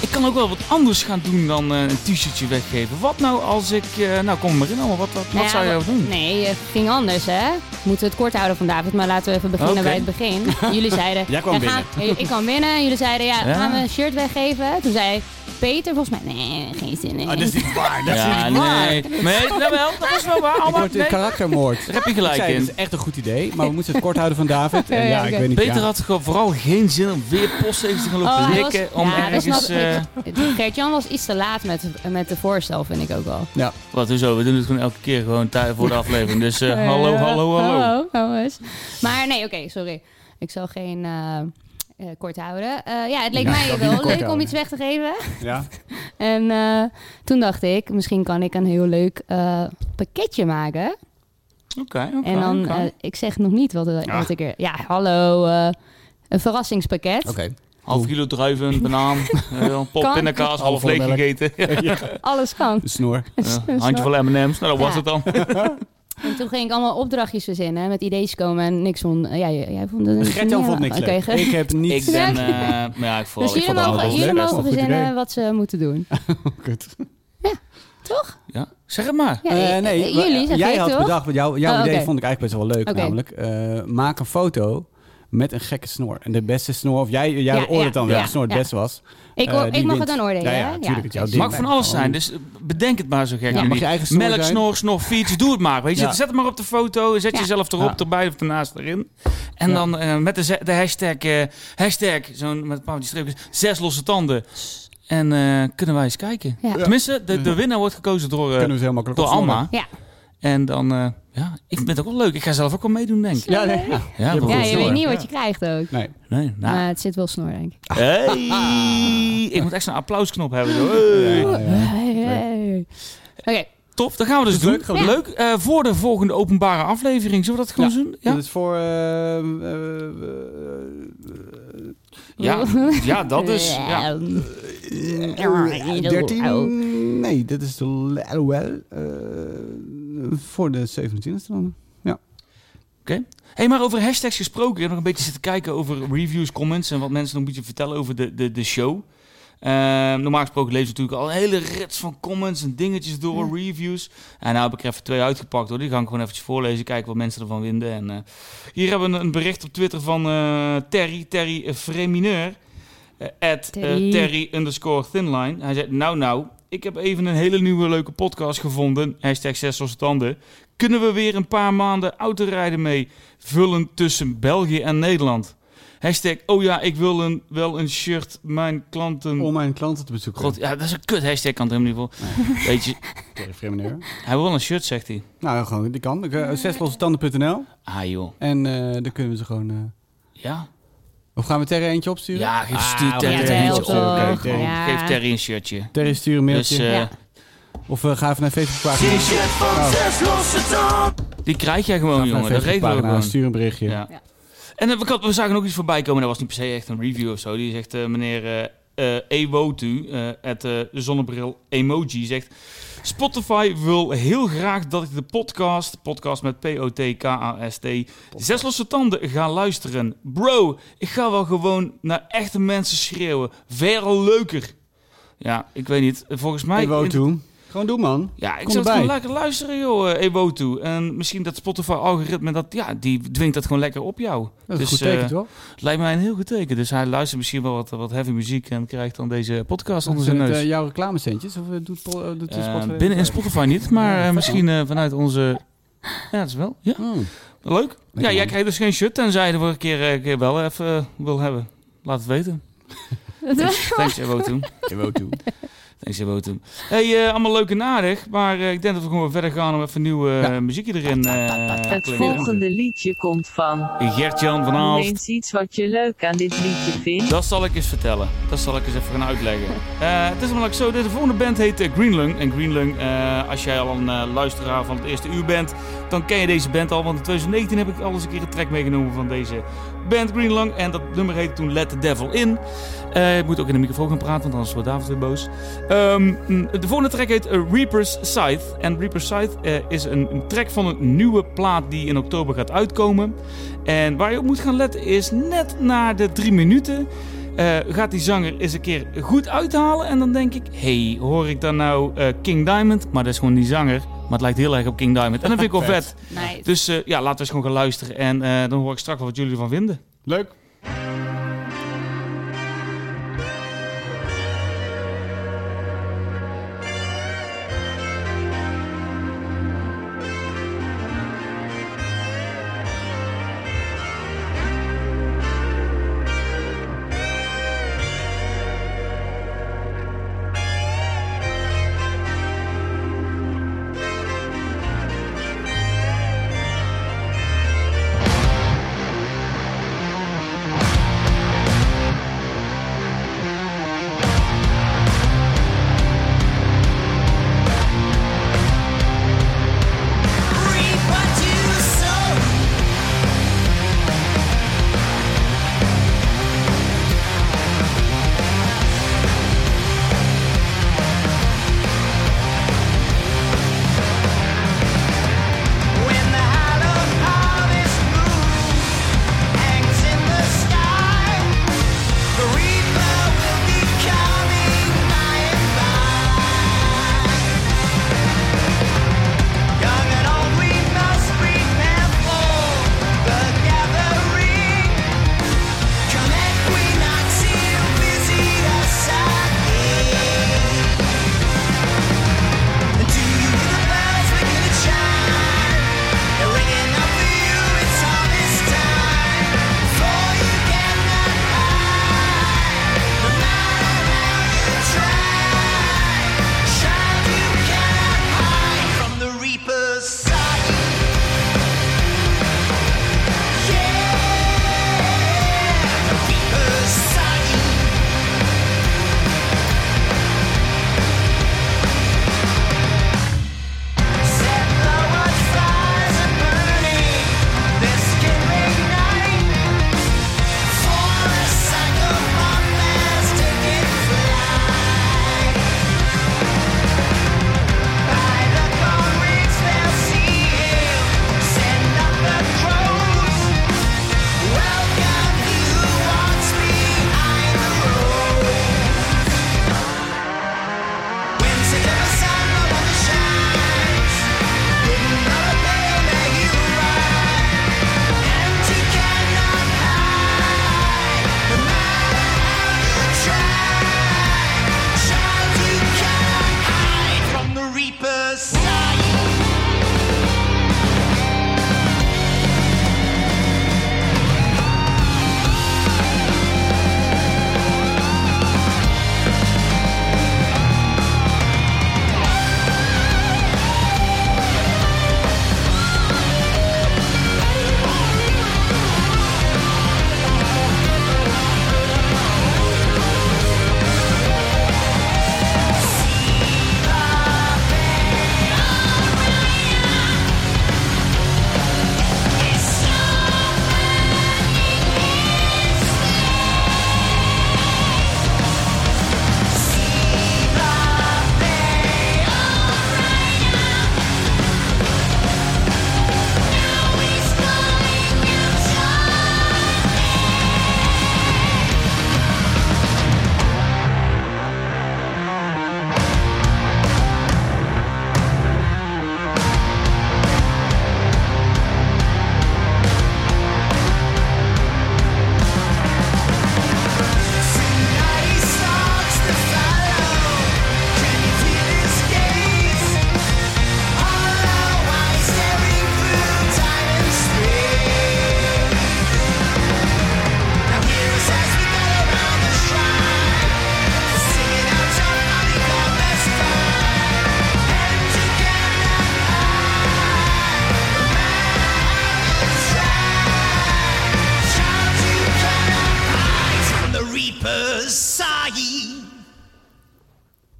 ik kan ook wel wat anders gaan doen dan eh, een t-shirtje weggeven. Wat nou als ik... eh, nou, kom maar in allemaal. Wat, wat, wat Nou ja, zou je wa- nou doen? Nee, het ging anders, hè? Moeten we het kort houden van David, maar laten we even beginnen Oké. bij het begin. Jullie zeiden... Jij kwam we gaan- Eh, ik kwam binnen. Jullie zeiden, ja, Ja. gaan we een shirt weggeven? Toen zei Peter volgens mij, nee, geen zin in. Ah, dus dat is niet waar. Dat is Ja, niet waar. nee. Nee, dat wel. Dat is wel waar. Ik Allemaal, word een nee. karaktermoord. Daar heb je Ik gelijk zei, in. dat is echt een goed idee, maar we moeten het kort houden van David. En ja, Ja, ik oké. weet niet. Peter ja. had gewoon vooral geen zin om weer postzeven te gaan lopen Oh, hij was- likken. om ja, dat ergens... snap eh, ik. Gert-Jan was iets te laat met, met de voorstel, vind ik ook wel. Ja, wat, hoezo? We doen het gewoon elke keer gewoon tij- voor de aflevering. Dus eh, Eh, hallo, hallo, hallo. Hallo, jongens. Maar nee, oké, sorry. Ik zal geen eh, eh, kort houden. Eh, ja, het leek Ja, mij dat wel niet kort leuk om houden. iets weg te geven. ja. En eh, toen dacht ik, misschien kan ik een heel leuk eh, pakketje maken. Oké, oké, En dan, oké. eh, ik zeg nog niet wat, er- Ja. wat ik er... Ja, hallo, eh, een verrassingspakket. oké. half kilo druiven, een banaan, eh, een pop Kan- pindakaas, half Halve leeg melk. gegeten. Ja, Alles kan. De snor. een handje van M&M's, nou dat was Ja. het dan. En toen ging ik allemaal opdrachtjes verzinnen, met idee's komen en niks vond... Ja, jij, jij vond het... niet- Gert-Jan ja, vond niks oké, leuk. Gert- Ik heb Ik niet... ben, eh maar ja, ik vooral, Dus ik vond het jullie mogen, allemaal wel jullie leuk. leuk. Dat is wel een mogen goed verzinnen idee. wat ze moeten doen. Kut. Toch? Ja, zeg het maar. Ja, Eh, eh, nee, eh, maar, jullie, eh, zeg jij ik had toch? bedacht, want jouw, jouw Oh, idee oké. vond ik eigenlijk best wel leuk, Oké. namelijk eh, maak een foto met een gekke snor. En de beste snor, of jij, jij Ja, oordeelt ja, dan wel ja, de snor het ja. beste was. Ik, eh, hoor- die ik mag wint. het dan oordelen. Ja, ja, hè? tuurlijk, het is jouw dus- ding. Oh. Mag van alles zijn, dus bedenk het maar zo gek. mag jullie. je eigen snor Melk, zijn. snor, snor, fiets, doe het maar. Weet je, Ja. Zet het maar op de foto, zet Ja. jezelf erop, Ja. erbij of ernaast erin. En Ja. dan eh, met de, ze- de hashtag, eh, hashtag zo'n met een paar van die streepjes, zes losse tanden. En eh, kunnen wij eens kijken. Ja. Tenminste, de, de winnaar wordt gekozen door, eh, Kunnen we ze heel makkelijk door opsnorren. Alma. Ja. En dan, eh, ja, ik vind het ook wel leuk. Ik ga zelf ook wel meedoen, denk ik. Ja, nee, ja. Ja, hebt dat een Ja, wordt je snor. weet niet wat je krijgt ook. Nee. Nee, nou. Maar het zit wel snor, denk ik. Hey! Ik moet echt zo'n applausknop hebben. Zo. Hey. Ja, ja. Hey, hey. Oké, Top, dat gaan we dus Dat is doen. leuk, gaan we Leuk. Eh, voor de volgende openbare aflevering. Zullen we dat gewoon doen? Dat Ja, is voor... eh, eh, eh, ja. ja dat is... Ja. eh, oh. 13? Nee, dat is de l- LOL. eh, voor de 27e dan. Hey, maar over hashtags gesproken. Ik heb nog een beetje zitten kijken over reviews, comments... en wat mensen nog een beetje vertellen over de, de, de show. Eh, normaal gesproken lezen we natuurlijk al een hele rits van comments en dingetjes door, reviews. En nou heb ik er even twee uitgepakt hoor. Die ga ik gewoon eventjes voorlezen, kijken wat mensen ervan vinden. En, eh, hier hebben we een, een bericht op Twitter van eh, Terry, Terry eh, Fremineur. eh, at eh, Terry. Terry underscore thinline. Hij zegt, nou nou, ik heb even een hele nieuwe leuke podcast gevonden. Hashtag zes losse tanden. Kunnen we weer een paar maanden autorijden mee vullen tussen België en Nederland? Hashtag, oh ja, ik wil een, wel een shirt mijn klanten Om mijn klanten te bezoeken. God, ja, dat is een kut hashtag kan het helemaal niet voor. Weet je, Sorry, vreemde meneer. hij wil wel een shirt, zegt hij. Nou, gewoon, die kan. Eh, Zeslossetanden.nl. Ah joh, En eh, dan kunnen we ze gewoon... eh, ja. Of gaan we Terry eentje opsturen? Ja, geef, stuur Ja, Terry dat een helpt shirtje. ook. Oké, Oké, gewoon, ja. Geef Terry een shirtje. Terry, stuur een Dus mailtje. eh, Ja. Of we gaan even naar Facebookpagina. T-shirt van zes losse tanden. die krijg jij gewoon, Naar jongen. Dat regelen we Facebookpagina, gewoon. Stuur een berichtje. Ja. Ja. En eh, we, kan- we zagen ook iets voorbij komen. Dat was niet per se echt een review of zo. Die zegt eh, meneer eh eh Ewotu, eh het eh, zonnebril emoji, zegt... Spotify wil heel graag dat ik de podcast, podcast met P-O-T-K-A-S-T, Zes Losse Tanden ga luisteren. Bro, ik ga wel gewoon naar echte mensen schreeuwen. Veel leuker. Ja, ik weet niet. Volgens mij... Hey, Wotu. Gewoon doen, man. Ja, ik Kom zou het erbij. gewoon lekker luisteren, joh, eh, Ewo toe. En misschien dat Spotify-algoritme, dat, ja, die dwingt dat gewoon lekker op jou. Dat is dus, een goed teken, eh, toch? het lijkt mij een heel goed teken. Dus hij luistert misschien wel wat, wat heavy muziek en krijgt dan deze podcast onder zijn Zijn het neus. eh, jouw reclamecentjes? Of eh, doet, Pol- eh, doet Eh, Spotify- binnen in Spotify niet, maar Ja, eh, misschien eh, vanuit onze... Ja, dat is wel. Ja, Hmm. leuk. Ja, jij man. krijgt dus geen shirt, tenzij je de vorige keer, eh, keer wel even eh, wil hebben. Laat het weten. Thanks, thanks Ewo toe. Thanks, Wotum. Hey, eh, allemaal leuk en aardig, maar eh, ik denk dat we gewoon verder gaan om even nieuwe eh, muziekje erin eh, te Het kleren. volgende liedje komt van. Gert-Jan van Noem Aalst. eens iets wat je leuk aan dit liedje vindt. Dat zal ik eens vertellen. Dat zal ik eens even gaan uitleggen. Eh, het is namelijk zo, de volgende band heet eh, Greenlung. En Greenlung, eh, als jij al een eh, luisteraar van het eerste uur bent, dan ken je deze band al. Want in 2019 heb ik al eens een keer een track meegenomen van deze band Greenlung. En dat nummer heette toen Let the Devil In. Eh, ik moet ook in de microfoon gaan praten, want anders wordt David weer boos. Ehm, mm, de volgende track heet eh, Reaper's Scythe. En Reaper's Scythe eh, is een, een track van een nieuwe plaat die in oktober gaat uitkomen. En waar je op moet gaan letten is net na de drie minuten... eh, gaat die zanger eens een keer goed uithalen en dan denk ik... hey, hoor ik dan nou eh, King Diamond? Maar dat is gewoon die zanger. Maar het lijkt heel erg op King Diamond. En dat vind ik wel vet. nice. Dus eh, ja, laten we eens gewoon gaan luisteren. En eh, dan hoor ik straks wel wat jullie ervan vinden. Leuk.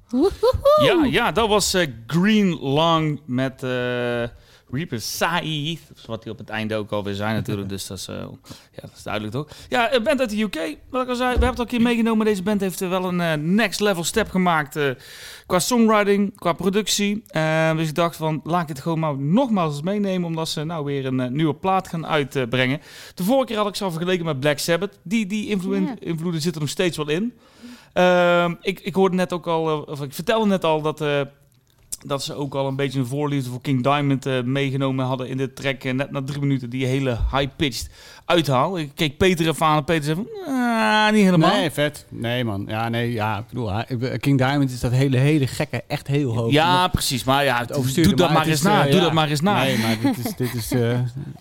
Woehoehoe. Ja, ja, dat was eh, Green Long met eh Reaper Saeed. Wat die op het einde ook alweer zijn natuurlijk. Dus dat is, eh, ja, dat is duidelijk toch? Ja, een band uit de UK. Wat ik al zei, we hebben het al een keer meegenomen. Deze band heeft eh, wel een eh, next level step gemaakt. eh, qua songwriting, qua productie. Eh, dus ik dacht van, laat ik dit gewoon maar nogmaals eens meenemen. Omdat ze nou weer een eh, nieuwe plaat gaan uitbrengen. de vorige keer had ik ze al vergeleken met Black Sabbath. Die, die invloeden, Ja. invloeden zitten er nog steeds wel in. Ehm, ik, ik hoorde net ook al, eh, of ik vertelde net al dat, eh, dat ze ook al een beetje een voorliefde voor King Diamond eh, meegenomen hadden in de track. En net na drie minuten die hele high-pitched uithaal. Ik keek Peter even aan en Peter zei van, "Ah, niet helemaal. Nee, vet. Nee, man. Ja, nee, ja. Ik bedoel, hij- ik- King Diamond is dat hele, hele gekke, echt heel hoog. ja, precies. Maar ja, Het doe overstuurde, dat maar, het eens is, na. eh, doe ja. dat maar eens na. Oh, Nee, maar dit is... Dit is eh,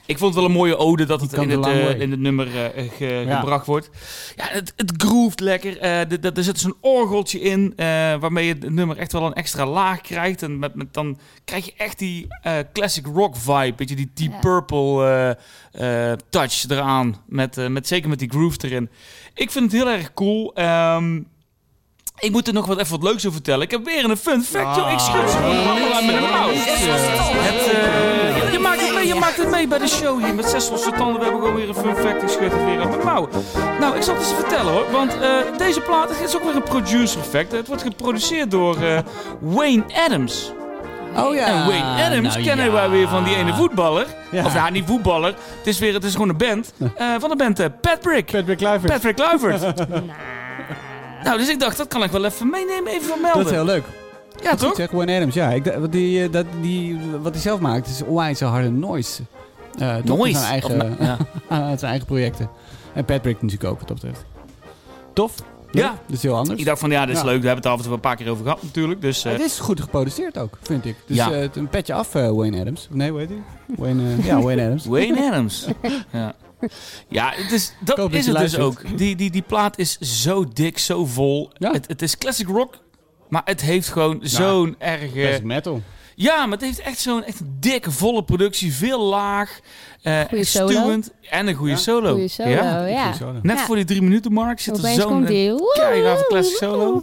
Ik vond het wel een mooie ode dat het kan in de het, lange eh, way. in het nummer eh, eh, ge- Ja. gebracht wordt. Ja, het, het groeft lekker. Eh, dit- dat- er zit zo'n orgeltje in eh, waarmee je het nummer echt wel een extra laag krijgt. En met, met, dan krijg je echt die eh, classic rock vibe. Weet je, die Deep Ja. Purple eh, eh, touch eraan. Met, eh, met, zeker met die groove erin. Ik vind het heel erg cool. Ehm, ik moet er nog wat even wat leuks over vertellen. Ik heb weer een fun fact, joh. Ik schud ze allemaal uit mijn mouth. Het, eh, je, je maakt het mee, je maakt het mee bij de show hier met zes losse tanden. We hebben gewoon weer een fun fact. Ik schud het weer uit mijn mouw. Nou, ik zal het eens vertellen hoor. Want eh, deze plaat het is ook weer een producer fact. Het wordt geproduceerd door eh, Wayne Adams. Oh ja. En Wayne Adams Nou, kennen ja. wij weer van die ene voetballer. Ja. Of nou, niet voetballer. Het is, weer, het is gewoon een band. eh, van de band eh, Patrick. Patrick Kluivert. Patrick Kluivert. nou, dus ik dacht, dat kan ik wel even meenemen, even vermelden. Dat is heel leuk. ja, Goed toch? zeg, Wayne Adams. Ja, ik, dacht- wat, die, eh, dat, die, wat hij zelf maakt is onwijs een harde noise. Eh, toch? Noise. Zijn Of eigen, nou, ja. aan zijn eigen projecten. En Patrick natuurlijk ook, wat dat betreft. Tof. Ja. Dat is heel anders. Ik dacht van, ja, dit is Ja. Ah, leuk. We hebben het er af en toe een paar keer over gehad natuurlijk. Dus eh, Het is goed geproduceerd ook, vind ik. Dus Ja. eh, het- een petje af, eh, Wayne Adams. Of Nee, hoe heet hij? Wayne, eh, ja, Wayne Adams. Wayne Adams. ja. Ja, het is, dat hoop dat is je het dus luistert. ook. Die, die, die plaat is zo dik, zo vol. Ja. Het, het is classic rock, maar het heeft gewoon zo'n erg... eh, Classic metal. Ja, maar het heeft echt zo'n echt een dikke, volle productie. Veel laag, eh Goeie solo. stuwend en een goede Ja. solo. Goeie solo, Ja. ja. Ik vind zo, ja. Net Ja. voor die drie minuten mark zit er Opeens komt zo'n... eh, die... keiharde classic solo.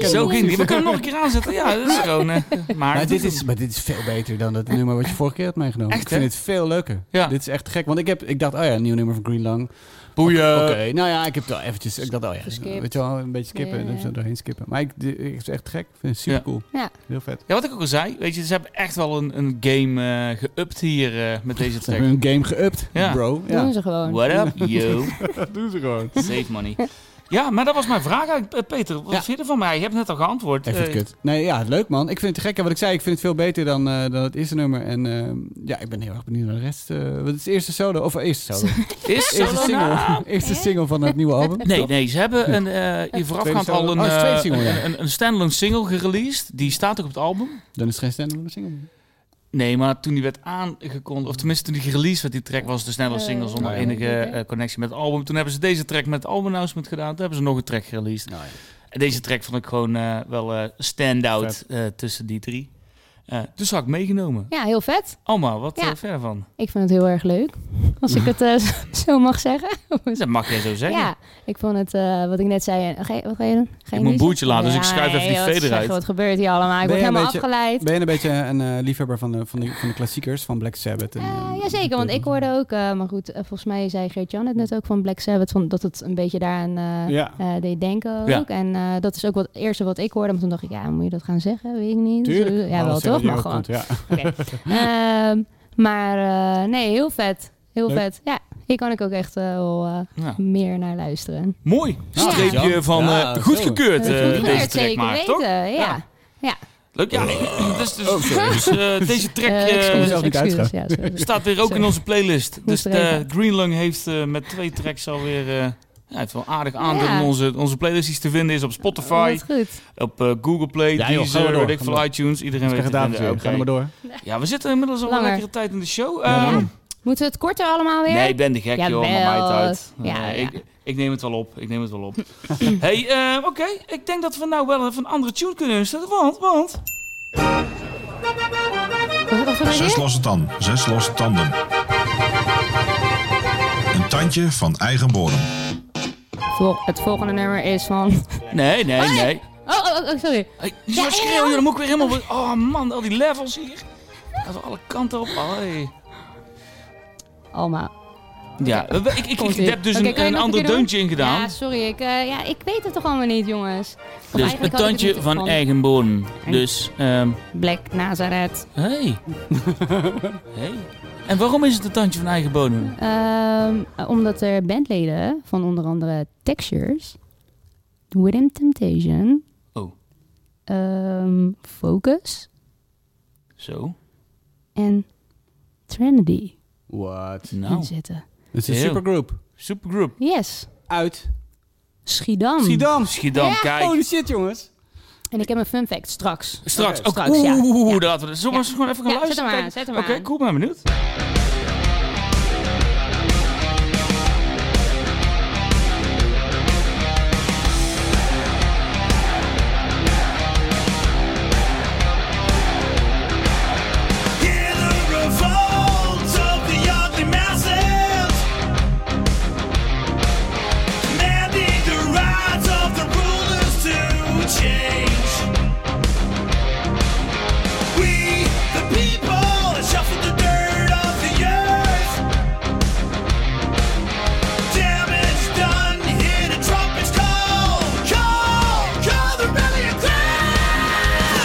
Zo ging die. We kunnen hem nog een keer aanzetten. Ja, dat is gewoon... eh, maar Maar dit, is, maar dit is veel beter dan dat nummer wat je vorige keer had meegenomen. Echt, ik vind hè? het veel leuker. Ja. Dit is echt gek. Want ik, heb, ik dacht, oh ja, een nieuw nummer van Green Lang. Boeien. Oké, nou ja, ik heb het wel eventjes... Ik dacht, oh ja, Geskipt. weet je wel, een beetje skippen. Ja, ja, en ja. zo doorheen skippen. Maar ik, ik, het is echt gek. Ik vind het super cool. Ja. Heel vet. Ja, wat ik ook al zei. Weet je, ze hebben echt wel een, een game eh, geüpt hier eh, met deze Ze hebben track. hun game geüpt, Ja. bro. Doen Ja. ze gewoon. What up, yo? Doen ze gewoon. Save money. Ja, maar dat was mijn vraag eigenlijk, eh, Peter. Wat Ja. vind je ervan? Maar je hebt net al geantwoord. Even Eh, kut. Nee, ja, leuk man. Ik vind het gek. hè, Wat ik zei, ik vind het veel beter dan, eh, dan het eerste nummer. En eh, ja, ik ben heel erg benieuwd naar de rest. eh, wat is de eerste solo? Of eh, eerste solo? Is eerste, solo na? nou. single, eerste single van het nieuwe album. Nee, Toch? nee, ze hebben een, eh, hier voorafgaand solo. al een, Oh, het is eh, tweede single, ja. een, een, een standalone single gereleased. Die staat ook op het album. Dan is het geen standalone single. meer. Nee, maar toen die werd aangekondigd, of tenminste toen die gereleased werd, die track was de standalone Eh, single zonder nou ja. enige eh, connectie met het album. Toen hebben ze deze track met het album announcement gedaan. Toen hebben ze nog een track gereleased. Nou En deze track vond ik gewoon eh, wel eh stand-out eh, tussen die drie. Eh, dus had ik meegenomen. Ja, heel vet. Alma, wat Ja. eh, verder van? Ik vind het heel erg leuk. Als ik het eh, zo mag zeggen. Dat mag jij zo zeggen. Ja, ik vond het, eh, wat ik net zei. eh, Ga je, wat ga je doen? Ga je moet een niezen? boertje laten, dus ik schuif even die joh, veder zeg je, uit. Wat gebeurt hier allemaal? Ben Ik word je een helemaal beetje- afgeleid. Ben je een beetje een eh, liefhebber van de, van, de, van de klassiekers van Black Sabbath? En, Ja, eh, jazeker, want ik hoorde ook, eh, maar goed, eh, volgens mij zei Geert-Jan het net ook van Black Sabbath, van, dat het een beetje daaraan eh, Ja. eh, deed denken ook. Ja. En eh, dat is ook wat, het eerste wat ik hoorde, maar toen dacht ik, ja, moet je dat gaan zeggen? Weet ik niet. Dus, eh, Tuurlijk. Ja, wel Alles toch? die Maar ook gewoon. komt, ja. Ehm, maar eh, nee, heel vet. Heel Leuk. vet. Ja, hier kan ik ook echt eh, wel eh, Ja. meer naar luisteren. Mooi. Ja. Streepje Ja. van Ja, eh, zo. goedgekeurd Dat eh, is goed deze gekeurd, track zeker maakt, weten. toch? Ja. Ja. ja. Leuk, ja. Dus, dus, Oh, sorry. dus, eh, deze track Eh, eh, excuses, zelf niet excuses. uitgaan. Ja, sorry. staat weer ook in onze playlist. Dus er even de uit. Greenlung heeft eh, met twee tracks alweer... eh, ja, heeft wel aardig aandeel Ja. in onze, onze playlist die te vinden is op Oh, Spotify, wat goed. op eh, Google Play, Ja, joh, ga maar Deezer, door, weet ik ga veel, maar iTunes. Iedereen Ik weet het. krijg het aan vinden. Ga er maar Oké. door. Ja, we zitten inmiddels al wel Langer. lekkere tijd in de show. Ja, Eh, daarom. Moeten we het korter allemaal weer? Nee, ik ben de gek, joh. Maar Jawel. mij het uit. Ja, Nee, ja. Ik, ik neem het wel op. Ik neem het wel op. hey, eh, oké. Ik denk dat we nou wel even een andere tune kunnen instellen. Want, want... Wat- Wat gaan we Zes doen? losse tanden. Zes losse tanden. Een tandje van eigen bodem. Vol- Het volgende nummer is van... Nee, eh, nee, nee. Oh, oh, oh, oh, sorry. Hey, Ja, zo en schreeuwen, dan? dan moet ik weer helemaal... Oh man, al die levels hier. Even alle kanten op. Oh, hey. Alma. Ja, eh, ik, ik, ik Komt-ie. heb dus Oké, een, kan je een nog ander keer doen? deuntje in gedaan. Ja, sorry. Ik, eh, ja, ik weet het toch allemaal niet, jongens. Of dus eigenlijk een had ik het tandje niet van eigen bodem. En- Dus, ehm Black Nazareth. hey. hey. En waarom is het een tandje van eigen bodem? Ehm, omdat er bandleden van onder andere Textures, Within Temptation, Oh. ehm, Focus Zo. en Trinity What? in Nou, zitten. Het is een Heel. supergroep. supergroup. Yes, Uit Hmm. Schiedam. Schiedam. Schiedam, kijk. Holy shit, jongens. En ik heb een fun fact straks. Straks. Oké, ook. straks, ja. Oeh, oeh, oeh, Ja. daar laten we Zullen we Ja. eens gewoon even gaan Ja, zet hem luisteren? aan, Kijk. zet hem Oké, aan. cool, ben benieuwd. Hear the revolt of the ugly masses, demanding the rights of the rulers to change. We, the people, shuffle the dirt of the earth. Damage done, hear the trumpets call, call, call the rallying cry.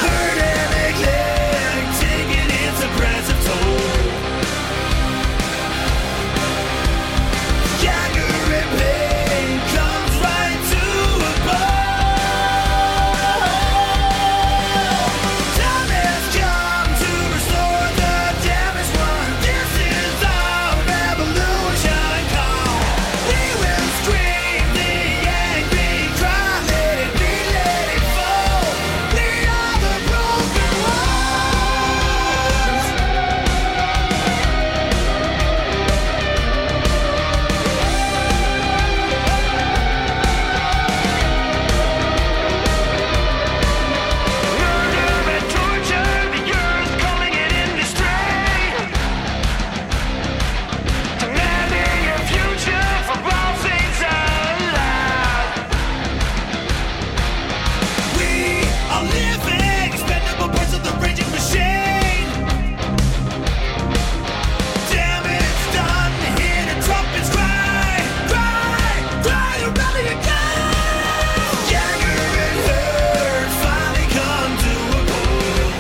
Heard and neglected, taking its oppressive toll. Staggering pain comes right to above. Time has come to restore the damaged one. This is our revolution call. We will scream the angry cry. Let it be, let it fall. We are the broken ones. Murder and torture, the years calling it industry. Demanding a future for all things alive. We are living, expendable parts of the raging machine. Damage done, hear the trumpets cry, cry, cry, a rally again. Jagger and Herd finally come to a goal.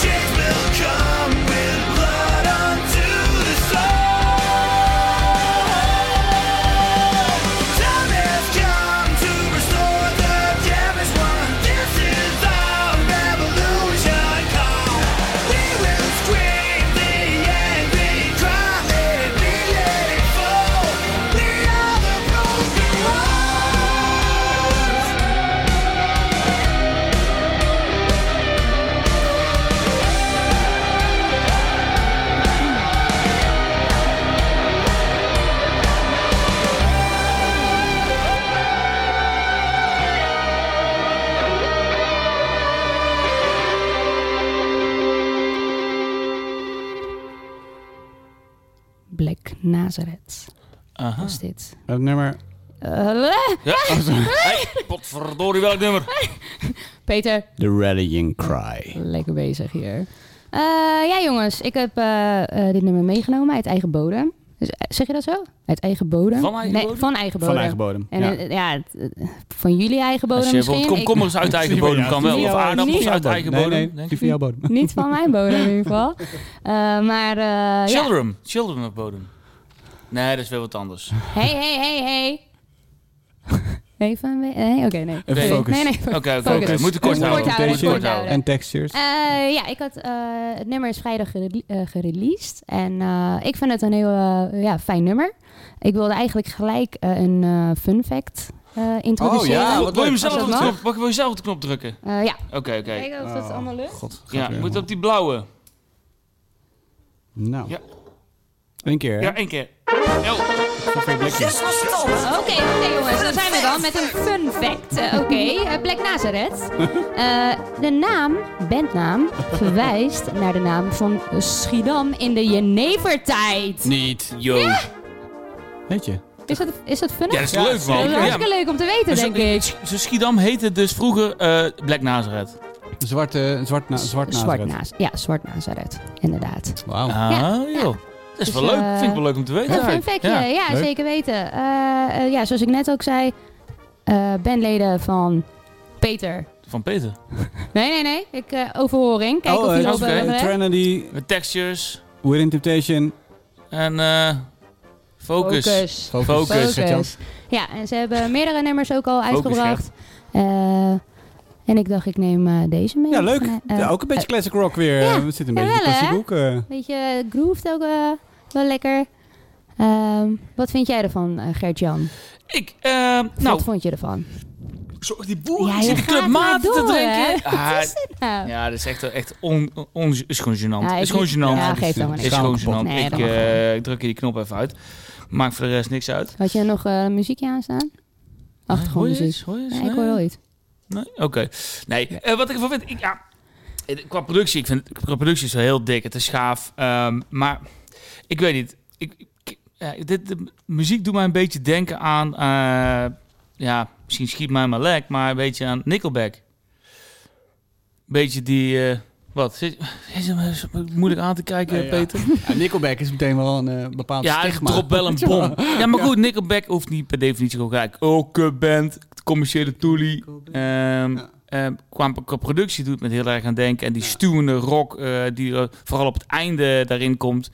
Change will come with blood unto the soul. Time has come to restore the damaged one. This is our revolution call. We will scream the angry cry. Let it be, let it fall. We are the broken ones. Black Nazareth Aha. was dit. Het nummer... Eh, Ja. Hey, potverdorie, welk nummer? Peter, The Rallying Cry. Lekker bezig hier. Eh, ja, jongens, ik heb eh, eh, dit nummer meegenomen uit eigen bodem. Dus, eh, zeg je dat zo? Uit eigen bodem? Van eigen nee, bodem? Van eigen bodem. Van eigen bodem. En ja. eh, ja, het, eh, van jullie eigen bodem Als je misschien. bijvoorbeeld komkommers uit eigen Ja, bodem kan wel. die Of van jou, aardappels die uit eigen bodem. Nee, nee, denk die ik. van jouw bodem. ik- niet van mijn bodem in ieder geval. Eh, maar eh ja. Children. Children of bodem. Nee, dat is wel wat anders. Hey, hey, hey, hey. Even een be- eh, Oké, nee. Even Nee, focus. Nee, nee. Oké, oké, Focus. oké. Moet ik kort Moet houden. kort houden, Moet ik kort moet kort houden. houden. En textures. Eh, ja, ik had, eh, het nummer is vrijdag gerele- eh, gereleased. En eh, ik vind het een heel eh, ja, fijn nummer. Ik wilde eigenlijk gelijk eh, een eh, fun fact eh, introduceren. ja, wat Wil je hem leuk. zelf Is op dat de mag? knop- wacht, wil je zelf op de knop drukken? Eh, ja, Oké, oké. kijken of dat Oh, allemaal lukt. God, gaat Ja, weer moet helemaal- op die blauwe. Nou. Ja. Eén keer, hè? Ja, één keer. Oh, Oké, oké jongens, daar zijn we dan met een fun fact. Eh, oké, eh, Black Nazareth. Eh, de naam, bandnaam, verwijst naar de naam van Schiedam in de Jenevertijd. Niet. yo. Weet je? Is dat, is dat funny? Ja, dat is Ja, leuk, man. dat is Ja, hartstikke leuk om te weten, Dus- denk ik. Zo Schiedam heette dus vroeger eh, Black Nazareth. Zwarte, zwart na, zwart zwart Nazareth. naast. Ja, zwart Nazareth. Inderdaad. Ah, Wauw. Oh. ja. joh. Dat is Dus, wel leuk. eh, Vind ik wel leuk om te weten. Een fun eigenlijk. factje, ja, Leuk. zeker weten. Eh, eh, ja, zoals ik net ook zei, eh bandleden van Peter. Van Peter. Nee, nee, nee. Ik eh, overhoring. Kijk of eh, jullie dat al is oké. hebben. Trinity, Met textures Within Temptation. en eh, focus. Focus. Focus. Focus. Zet je ook. Focus. Ja, en ze hebben meerdere nummers ook al uitgebracht. Eh, en ik dacht, ik neem eh, deze mee. Ja, leuk. Van, eh, Ja, ook een beetje classic rock weer. ja, Eh, We zitten een beetje in de jawel, hè? klassieke hoek. eh. Beetje grooved ook eh, wel lekker. Ehm, wat vind jij ervan, eh, Gert-Jan? Ik, eh, nou, Wat vond je ervan? zorg die boer Ja, is je in gaat maar clubmaat te door, drinken. hè? Ah, Nou, ja, dat is echt, echt on, on, is gewoon gênant. Ja, ik- is gewoon gênant. Ja, geeft helemaal is niks. gewoon Schaam gênant. kapot. Nee, ik dat mag eh, gewoon. ik druk hier die knop even uit. Maakt voor de rest niks uit. Had je nog eh, muziekje aanstaan? hoor je Achtergrondmuziek. eens? Hoor je eens? Nee, ik hoor wel iets. Nee? Oké. Nee, eh, wat ik ervan vind... Ik, ja, eh, qua productie, ik vind qua productie is wel heel dik. Het is gaaf. ehm, maar ik weet niet. Ik, ik- ja, dit, de muziek doet mij een beetje denken aan... eh, ja, misschien schiet mij maar lek, maar een beetje aan Nickelback. beetje die... eh, wat? Zit- Is het me zo moeilijk aan te kijken, Nee, ja. Peter? Ja, Nickelback is meteen wel een eh, bepaald Ja, het stigma. drop wel een Weet je wel? bom. Ja, maar goed, Nickelback hoeft niet per definitie gewoon gelijk. Ook band, commerciële toelie. Ehm, Ja. ehm, qua, qua productie doet het me heel erg aan denken. En die stuwende rock eh, die er vooral op het einde daarin komt.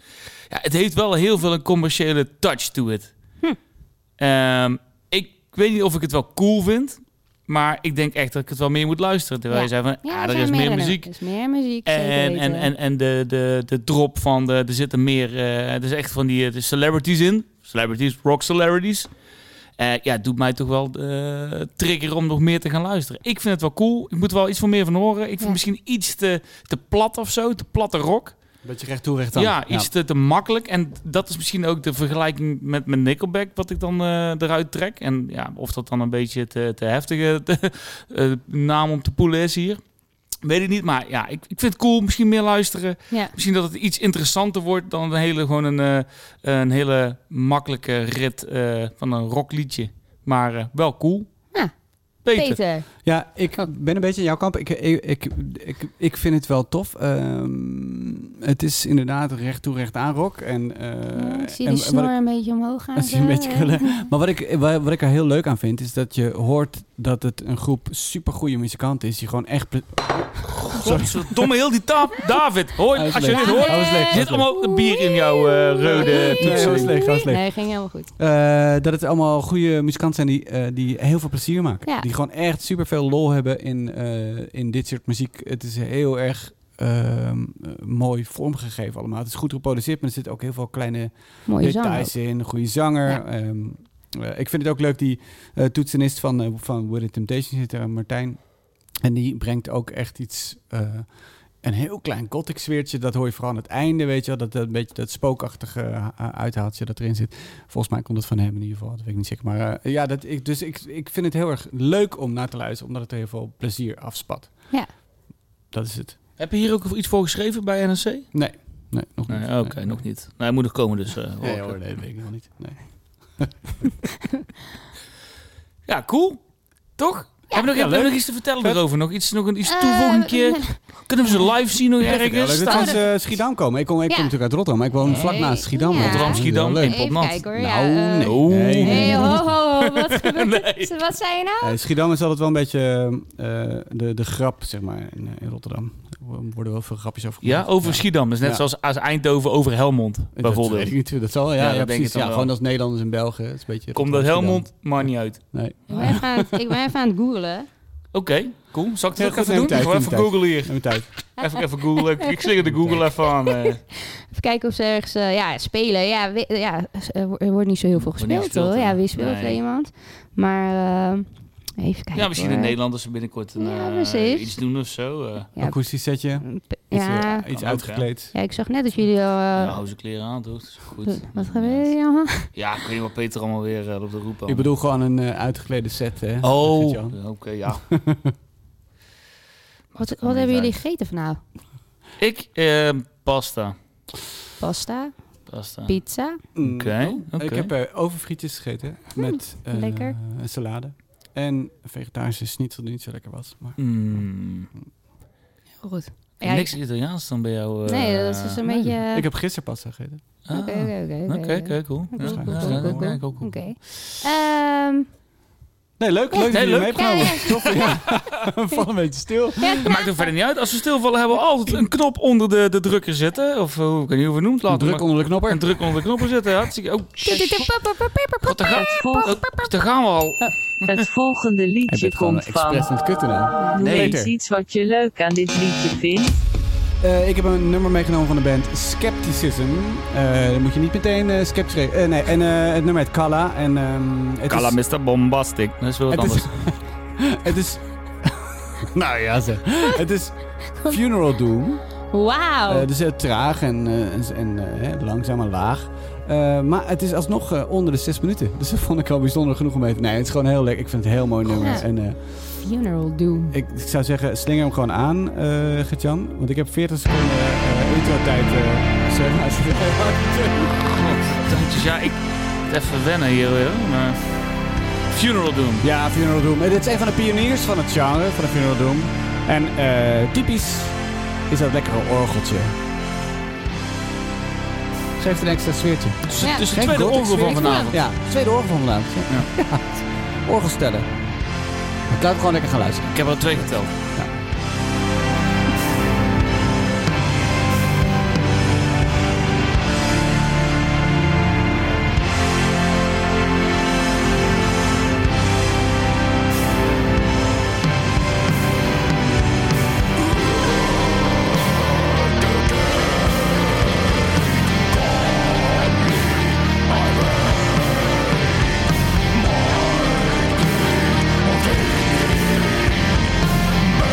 Ja, het heeft wel heel veel een commerciële touch to it. Hm. Ehm, ik weet niet of ik het wel cool vind. Maar ik denk echt dat ik het wel meer moet luisteren. Terwijl Ja. je zei van, Ja, ah, er er zijn is meer meerdere. muziek. Er is meer muziek, zeker En, weten. en, en, en de, de, de drop van de, er zitten meer, eh er is echt van die eh, de celebrities in. Celebrities, rock celebrities. Eh, ja, het doet mij toch wel eh trigger om nog meer te gaan luisteren. Ik vind het wel cool. Ik moet er wel iets van meer van horen. Ik vind Ja. misschien iets te, te plat of zo, te platte rock. Beetje recht toe, recht aan. Ja, iets Te, te makkelijk. En dat is misschien ook de vergelijking met mijn Nickelback, wat ik dan eh, eruit trek. En ja, of dat dan een beetje te, te heftige te- eh, naam om te poelen is hier. Weet ik niet, maar ja, ik, ik vind het cool. Misschien meer luisteren. ja. Misschien dat het iets interessanter wordt dan een hele, gewoon een, eh, een hele makkelijke rit eh, van een rockliedje. Maar eh, wel cool. Ja. Peter. Peter. Ja, ik Oh. ben een beetje in jouw kamp. Ik, ik, ik, ik, ik vind het wel tof. Ehm, het is inderdaad recht toe, recht aan rock. En, eh, Ja, ik zie en die wat ik- snor een beetje omhoog gaan. eh. Dat is een zo. beetje krullen. Maar wat ik, wa- wat ik er heel leuk aan vind, is dat je hoort dat het een groep supergoeie muzikanten is. Die gewoon echt... ple- Godverdomme, heel die taal. David, hoor, Hij is als je leeg. dit hoort, Hij was leeg, er hij was zit leeg. allemaal bier in jouw eh, rode Nee, hij was toetsen. leeg, hij was leeg. Nee, ging helemaal goed. Eh, dat het allemaal goede muzikanten zijn die, eh, die heel veel plezier maken. Ja. Die gewoon echt super veel lol hebben in, eh, in dit soort muziek. Het is heel erg ehm, eh, mooi vormgegeven allemaal. Het is goed geproduceerd, maar er zitten ook heel veel kleine Mooie zang. ook. details in. Goede zanger. Ja. ehm, eh, ik vind het ook leuk, die eh, toetsenist van, eh van Within Temptation zit er, eh, Martijn. En die brengt ook echt iets... eh, een heel klein gothic sfeertje, dat hoor je vooral aan het einde, weet je wel. Dat, dat een beetje dat spookachtige eh, eh, uithaaltje dat erin zit. Volgens mij komt het van hem in ieder geval, dat weet ik niet zeker. Maar eh, ja, dat, ik, dus ik, ik vind het heel erg leuk om naar te luisteren, omdat het heel veel plezier afspat. Ja. Dat is het. Heb je hier ook iets voor geschreven bij NRC? Nee, Nee, nee, nog niet. oké, nog niet. Nou, hij moet nog komen dus. eh, hoor Nee ik. hoor, nee, dat weet ik nog niet. Nee. Ja, cool. Toch? Hebben we nog, hebben we nog iets te vertellen daarover? Nog iets, nog een, iets Eh, toevoegen een keer? Kunnen we ze live zien nog Ja, ergens? leuk dat Staan ze ze- uit eh, Schiedam komen. Ik kom, ik Ja. kom natuurlijk uit Rotterdam, maar ik woon Nee. vlak naast Schiedam. Ja. Rotterdam, Schiedam, Leuk. één Even pot nat. kijken hoor. Nou, ja, eh, nee. Oh, Nee, Hey, nee. ho, ho, ho, wat gebeurt er? Wat zei je nou? Eh, Schiedam is altijd wel een beetje eh, de, de grap, zeg maar, in, eh, in Rotterdam. Er worden wel veel grapjes over Ja, gemaakt. over Schiedam. Dus net Ja. zoals als Eindhoven over Helmond, Dat bijvoorbeeld. weet ik niet, dat zal, Ja, ja, ja, dat denk ik precies. dan Ja, wel. gewoon als Nederlanders en Belgen. Het is een beetje Komt dat Rotterdam, Helmond, maar niet uit. Schiedam. Nee. Ik ben even aan het- Ik ben even aan het googlen. Oké, cool. Zal ik Heel het ook goed, even neem doen? tijd, Gewoon neem even tijd. googlen hier. Neem het uit. Even, even googlen. Ik slinger de Google even aan. eh. Even kijken of ze ergens eh, ja, spelen. Ja, we- ja, er wo- er wordt niet zo heel veel Wordt niet gespeeld, gespeeld hoor. hè? Ja, wie speelt Nee. er iemand? Maar ehm, even kijken. Ja, misschien hoor. de Nederlanders binnenkort een, Ja, eh, precies. iets doen of zo. eh. Ja, Akoestisch setje. p- Iets, eh, ja. iets hè? uitgekleed. ja, ik zag net dat jullie al. eh, nou, hou ze kleren aan, toch? Is Goed. wat gebeurt er allemaal? Ja, ik weet niet wat Peter allemaal weer eh, op de roep Ik bedoel gewoon een eh, uitgeklede set, hè. Oh, Gert-Jan. oké, ja. Wat, niet wat hebben jullie uit. gegeten vanavond? Ik, eh, pasta. Ah. Pasta? ehm, Pasta. Oké, Pizza. Mm. oké. Ik heb eh, overfrietjes gegeten met eh, Hmm, lekker. een salade. En vegetarische schnitzel die niet zo lekker was. Maar Mm. Heel goed. Ja, Niks ik- Italiaans dan bij jou? eh, nee, dat is dus een nee. beetje... ik heb gisteren pasta gegeten. Ah, Oké, oké, oké, oké, Oké, oké. oké, cool. Cool, Ja, cool, ja, cool, ja, cool, oké, cool. cool, cool. Oké. Ehm, Nee, leuk. Leuk dat Heel jullie leuk. meegenomen. Ja, Tof, ja. We vallen een beetje stil. ja, Dat maakt ook verder niet uit. Als we stilvallen hebben we altijd een knop onder de, de drukker zitten. Of eh, hoe ik weet niet hoe we het noemt. Laten we Druk maar- onder de knopper. een druk onder de knoppen zitten. Hartstikke. Oh, shit. God, daar, gaan, Het, vol- oh, daar gaan we al. het volgende Hij liedje bent gewoon komt expres van. aan het kutten dan. Noem Nee. eens iets wat je leuk aan dit liedje vindt. Eh, ik heb een nummer meegenomen van de band Skepticism. Eh dan moet je niet meteen eh sceptisch re- eh, nee, en eh, het nummer heet Kala. En, ehm, het Kala is, Mr. Bombastic. Dat is wel wat Het anders. is- het is... nou ja, zeg. Het is Funeral Doom. Wauw. Eh, dus heel traag en, eh, en, en eh, hè, langzaam en laag. Eh, maar het is alsnog eh, onder de zes minuten. Dus dat vond ik al bijzonder genoeg om mee te... Nee, het is gewoon heel lekker. Ik vind het een heel mooi nummer. Ja. En eh, Funeral Doom. ik, ik zou zeggen, slinger hem gewoon aan, eh Gertjan. Want ik heb 40 seconden eh intro-tijd. eh, zeg maar. God, dankjes. Ja, ik... het Even wennen hier weer. Maar... Funeral Doom. ja, Funeral Doom. Eh, dit is een van de pioniers van het genre, van de Funeral Doom. En eh, typisch is dat lekkere orgeltje. Ze heeft een extra sfeertje. Dus, Ja. het is de Geen tweede gothic orgel van sfeer. vanavond. Ja, tweede orgel van vanavond. Ja. ja. Orgelstellen. Ik laat gewoon lekker gaan luisteren. Ik heb er twee geteld. Make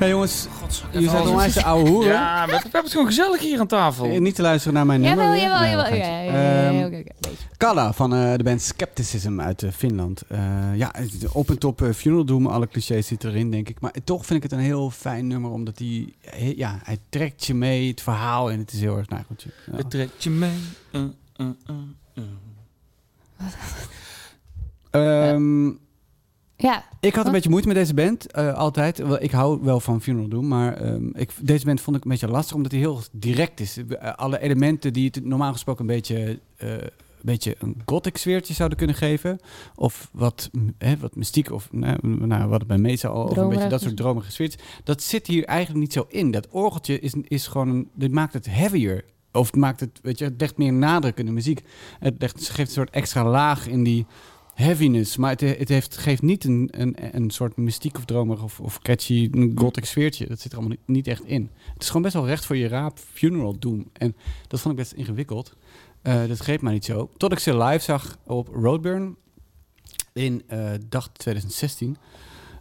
Ja, jongens, je zijn onwijs de oude hoeren. Ja, we, we hebben het gewoon gezellig hier aan tafel. Eh, Niet te luisteren naar mijn nummer. Jawel, weer. jawel, Nee, jawel. geintje. Ja, ja, ja, ja, Ehm, ja, oké, oké. Beetje. Kalla van eh, de band Skepticism uit eh, Finland. Eh, ja, op en top eh, Funeral Doom. Alle clichés zitten erin, denk ik. Maar toch vind ik het een heel fijn nummer, omdat die, eh, ja, hij trekt je mee, het verhaal. En het is heel erg, nou goed. ja. Het trekt je mee. eh, eh, eh, eh. Ehm, Ja, Ik had een Huh? beetje moeite met deze band, eh, altijd. Wel, Ik hou wel van Funeral Doom, maar ehm, ik, deze band vond ik een beetje lastig, omdat hij heel direct is. Eh, Alle elementen die het normaal gesproken een beetje, eh, een, beetje een gothic sfeertje zouden kunnen geven. Of wat, mm, hè, wat mystiek, of nou, nou, wat het bij Mesa al, of een beetje dat Dromerig. soort dromige sfeertjes. Dat zit hier eigenlijk niet zo in. Dat orgeltje is, is gewoon, een, dit maakt het heavier. Of het maakt het, weet je, het legt meer nadruk in de muziek. Het legt, het geeft een soort extra laag in die heaviness. Maar het, het heeft, geeft niet een, een, een soort mystiek of dromer of, of catchy gothic sfeertje. Dat zit er allemaal niet, niet echt in. Het is gewoon best wel recht voor je raap funeral doom. En dat vond ik best ingewikkeld. Eh, dat greep mij niet zo. Tot ik ze live zag op Roadburn in eh dag 2016.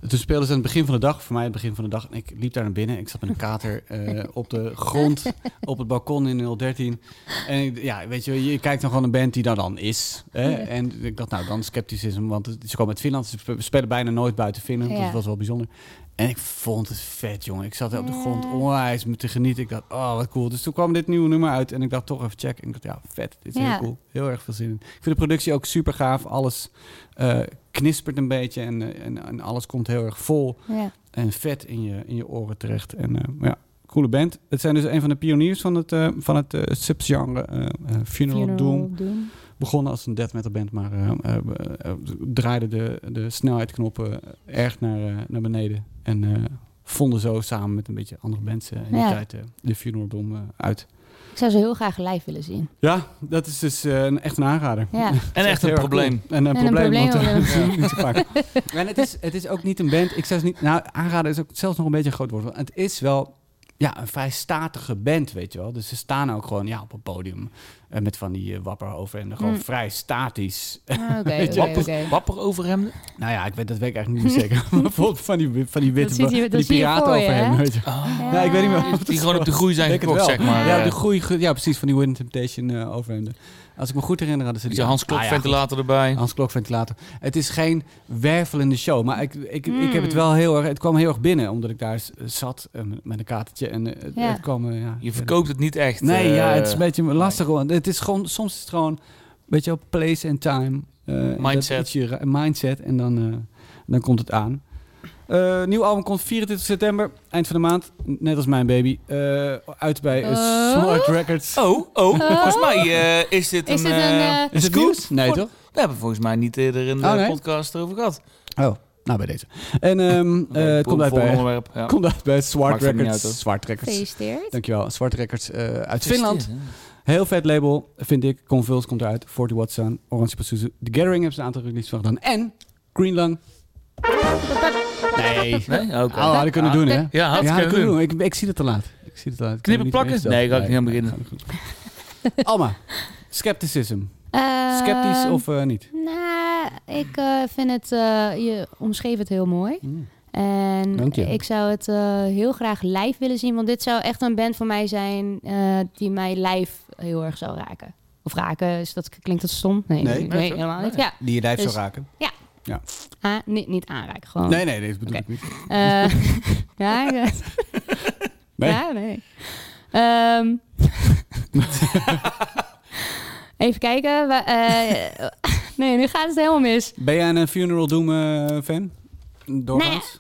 Toen speelden ze aan het begin van de dag, voor mij het begin van de dag. En ik liep daar naar binnen. Ik zat met een kater eh, op de grond, op het balkon in 013. En ik- ja, weet je, je kijkt dan gewoon een band die daar dan is. Hè? Ja. En ik dacht, nou dan scepticisme, want het- ze komen uit Finland. Ze spe- spelen bijna nooit buiten Finland. Ja. Dat was wel bijzonder. En ik vond het vet, jongen. Ik zat op de Ja. grond onwijs me te genieten. Ik dacht, oh, wat cool. Dus toen kwam dit nieuwe nummer uit en ik dacht toch even checken. En ik dacht, ja, vet. Dit is Ja. heel cool. Heel erg veel zin in. Ik vind de productie ook super gaaf. Alles eh, knispert een beetje en, eh, en, en alles komt heel erg vol ja. en vet in je, in je oren terecht. En eh, ja, coole band. Het zijn dus een van de pioniers van het, eh, van het eh, subgenre eh, eh, Funeral, Doom. Doom. Begonnen als een death metal band, maar eh, eh, eh, draaiden de, de snelheidknoppen erg naar, eh, naar beneden. En eh, vonden zo samen met een beetje andere mensen in die Ja. tijd eh, de Funeral Doom eh, uit. Ik zou ze heel graag live willen zien. Ja, dat is dus eh, een, echt een aanrader. Ja. En echt een probleem. En een En een probleem. want, probleem, eh, niet zo vaak. En het is, het is ook niet een band. Ik zou ze niet. Nou, aanraden is ook zelfs nog een beetje een groot woord. Want het is wel. Ja, een vrij statige band, weet je wel. Dus ze staan ook gewoon ja, op een podium eh, met van die eh, wapperhoven en gewoon Mm. vrij statisch. Ah, Oké, Weet je, oké, Wapper, oké. wapper over hem. nou ja, ik weet, dat weet ik eigenlijk niet meer zeker. maar bijvoorbeeld van die, van die witte ziet van je- dat die zie je piraten voor je, overheen, hè? weet je. Ah. Ja. Ja, ik weet niet meer. Die gewoon op de groei zijn Denk het gekocht, zeg wel. maar. Ja, Eh, de groei, ja, precies, van die Win Temptation eh overhemden. Als ik me goed herinner, hadden ze die... die Hans Klok Ah, ja, ventilator erbij. Hans Klok ventilator. Het is geen wervelende show, maar ik, ik, ik heb het Hmm. wel heel erg. Het kwam heel erg binnen, omdat ik daar s- zat eh, met een katertje en eh, het, Ja. het kwam. eh, ja, Je verkoopt het niet echt. Nee, eh, ja, het is een beetje lastig. Want het is gewoon soms is het gewoon, weet je, wel, place and time, eh, Mindset. dat ietsje ra- mindset en dan, eh, dan komt het aan. Eh, nieuw album komt 24 september, eind van de maand, net als mijn baby, eh, uit bij eh, Oh. Smart Records. Oh, oh, volgens mij eh, is dit een... Is dit een... eh, eh, Is het Scoop? nieuws? Nee, Voor- toch? We hebben volgens mij niet eerder in de Oh, nee. podcast erover gehad. Oh, nou bij deze. En ehm, eh, het komt Volgende uit bij onderwerp, ja. Komt uit bij Zwart Maakt verder niet Records. uit, hoor. Zwart Records. Gefeliciteerd. Dankjewel. Zwart Records eh, uit Is Finland. dit, hè? Heel vet label, vind ik. Convulse komt eruit. 40 Watt Sun, Orange Pazuzu. The Gathering hebben ze een aantal releases van gedaan. En Green Lung. Nee. Nee? Oké. Oh, hadden kunnen doen, hè? Ah, Ja, had ja, ik hadden kunnen doen. Ik, ik zie het te laat. Ik zie het te laat. Ik Knippen, kan er niet plakken? mee Nee, ga ik zelf. niet aan Nee, beginnen. gaat goed. Alma, scepticism. Eh, Sceptisch of eh, niet? Nou, ik eh, vind het... eh, je omschreef het heel mooi. En Dank je. ik zou het eh, heel graag live willen zien. Want dit zou echt een band voor mij zijn eh, die mij live heel erg zou raken. Of raken, is dat, klinkt dat stom? Nee, Nee. nee, Nee, zo. helemaal niet. Nee. Ja, Die je lijf zou Dus- raken? ah, niet, niet aanraken, gewoon. Nee, nee, nee, dat bedoel Oké. ik niet. Eh, ja, ik- Nee. ja, nee. Ehm, even kijken. wa- eh, nee, nu gaat het helemaal mis. Ben jij een Funeral Doom eh, fan? Doorgaans?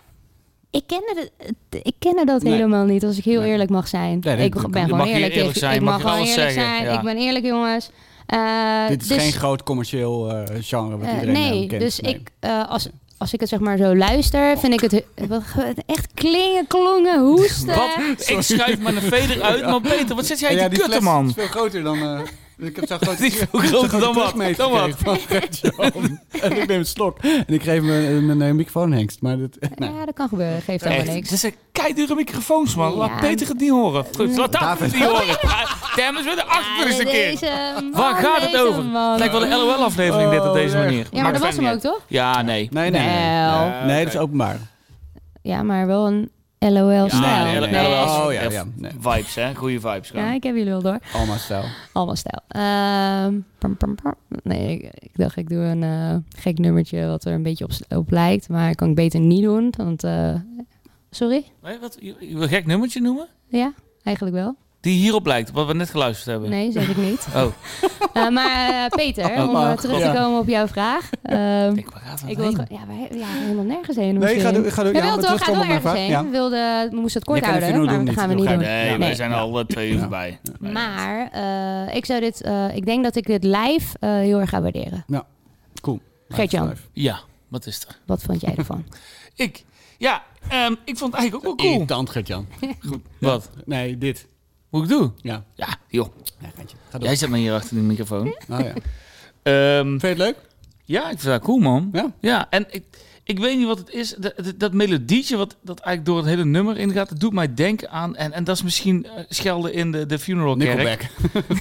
Ik kende, het- ik kende dat Nee. helemaal niet, als ik heel Nee. eerlijk mag zijn. dat ik kan. ben Je gewoon mag hier eerlijk. eerlijk tegen- zijn, ik mag mag je gewoon alles eerlijk zeggen, zijn. ja. Ik ben eerlijk, jongens. Eh, Dit is dus- geen groot commercieel eh, genre wat eh, iedereen eh, nee, kent. dus ik, eh, als, als ik het zeg maar zo luister, vind ik het he- wat- echt klingen, klongen, hoesten. Wat? Ik schuif maar een veder uit, maar Peter, wat zit jij En te kutten, man? is veel groter dan... eh, ik heb zo'n Die is grote... veel groter dan wat. terugmeter Dan wat. gekregen van Fred-Jan. En ik neem een slok. En ik geef mijn, mijn eh, microfoon hengst. Maar dat, nee. Ja, dat kan gebeuren. Geeft helemaal Echt, niks. dit zijn keidure microfoons, man. Laat Ja. Peter het niet horen. Goed, laat David het niet horen. Ah, Damn, is weer de achterste keer. Waar gaat het over? Het lijkt wel een LOL-aflevering dit op deze Oh, manier. Ja, maar Maakt dat was verder hem ook, niet toch? uit. Ja, nee. Nee, nee, nee. Wel. Nee, dat is openbaar. Ja, maar wel een LOL Ja, stijl. LOL. Nee. Oh ja, ja. Nee. Vibes, hè? Goede vibes. gewoon. Ja, ik heb jullie wel door. Alma stijl. Allemaal stijl. Ehm, pam, pam, pam. Nee, ik, ik dacht ik doe een eh, gek nummertje wat er een beetje op, op lijkt. Maar kan ik beter niet doen, want... eh, sorry? Hé, wat, je, je wil een gek nummertje noemen? Ja, eigenlijk wel. Die hierop lijkt, op wat we net geluisterd hebben. Nee, zeg ik niet. Oh, Eh, maar eh, Peter, om eh, terug te Oh, Ja. komen op jouw vraag. Ehm, ik waar gaat dat ik wil heen? gewoon- ja, wij, ja, helemaal nergens heen. Nee, misschien. ga door- ga door- Jawel, ja, maar toch, ga terugkomen door op mijn ergens vraag, heen. ja. We, wilden, we moesten het kort Je kan het houden, even maar doen, dat niet. gaan we Dat niet ga doen. ik- Nee, Ja. wij Nee. zijn al eh, twee uur voorbij. Nee. Maar eh, ik, zou dit, eh, ik denk dat ik dit live eh, heel erg ga waarderen. Cool. Gert-Jan. Live. Ja, wat is er? Wat vond jij ervan? Ik, ja, ehm, ik vond het eigenlijk ook wel cool. Irritant, Gert-Jan. Wat? Nee, dit. Hoe ik doe? Ja. Ja, joh. Ja, geintje. Ga door. Jij zit maar hier achter die microfoon. Oh, ja. Vind Ehm, je het leuk? ja, ik vind dat cool, man. Ja. Ja, en ik, ik weet niet wat het is. Dat, dat, dat melodietje wat dat eigenlijk door het hele nummer ingaat, dat doet mij denken aan... En, en dat is misschien eh, schelden in de, de funeral kerk. Nickelback.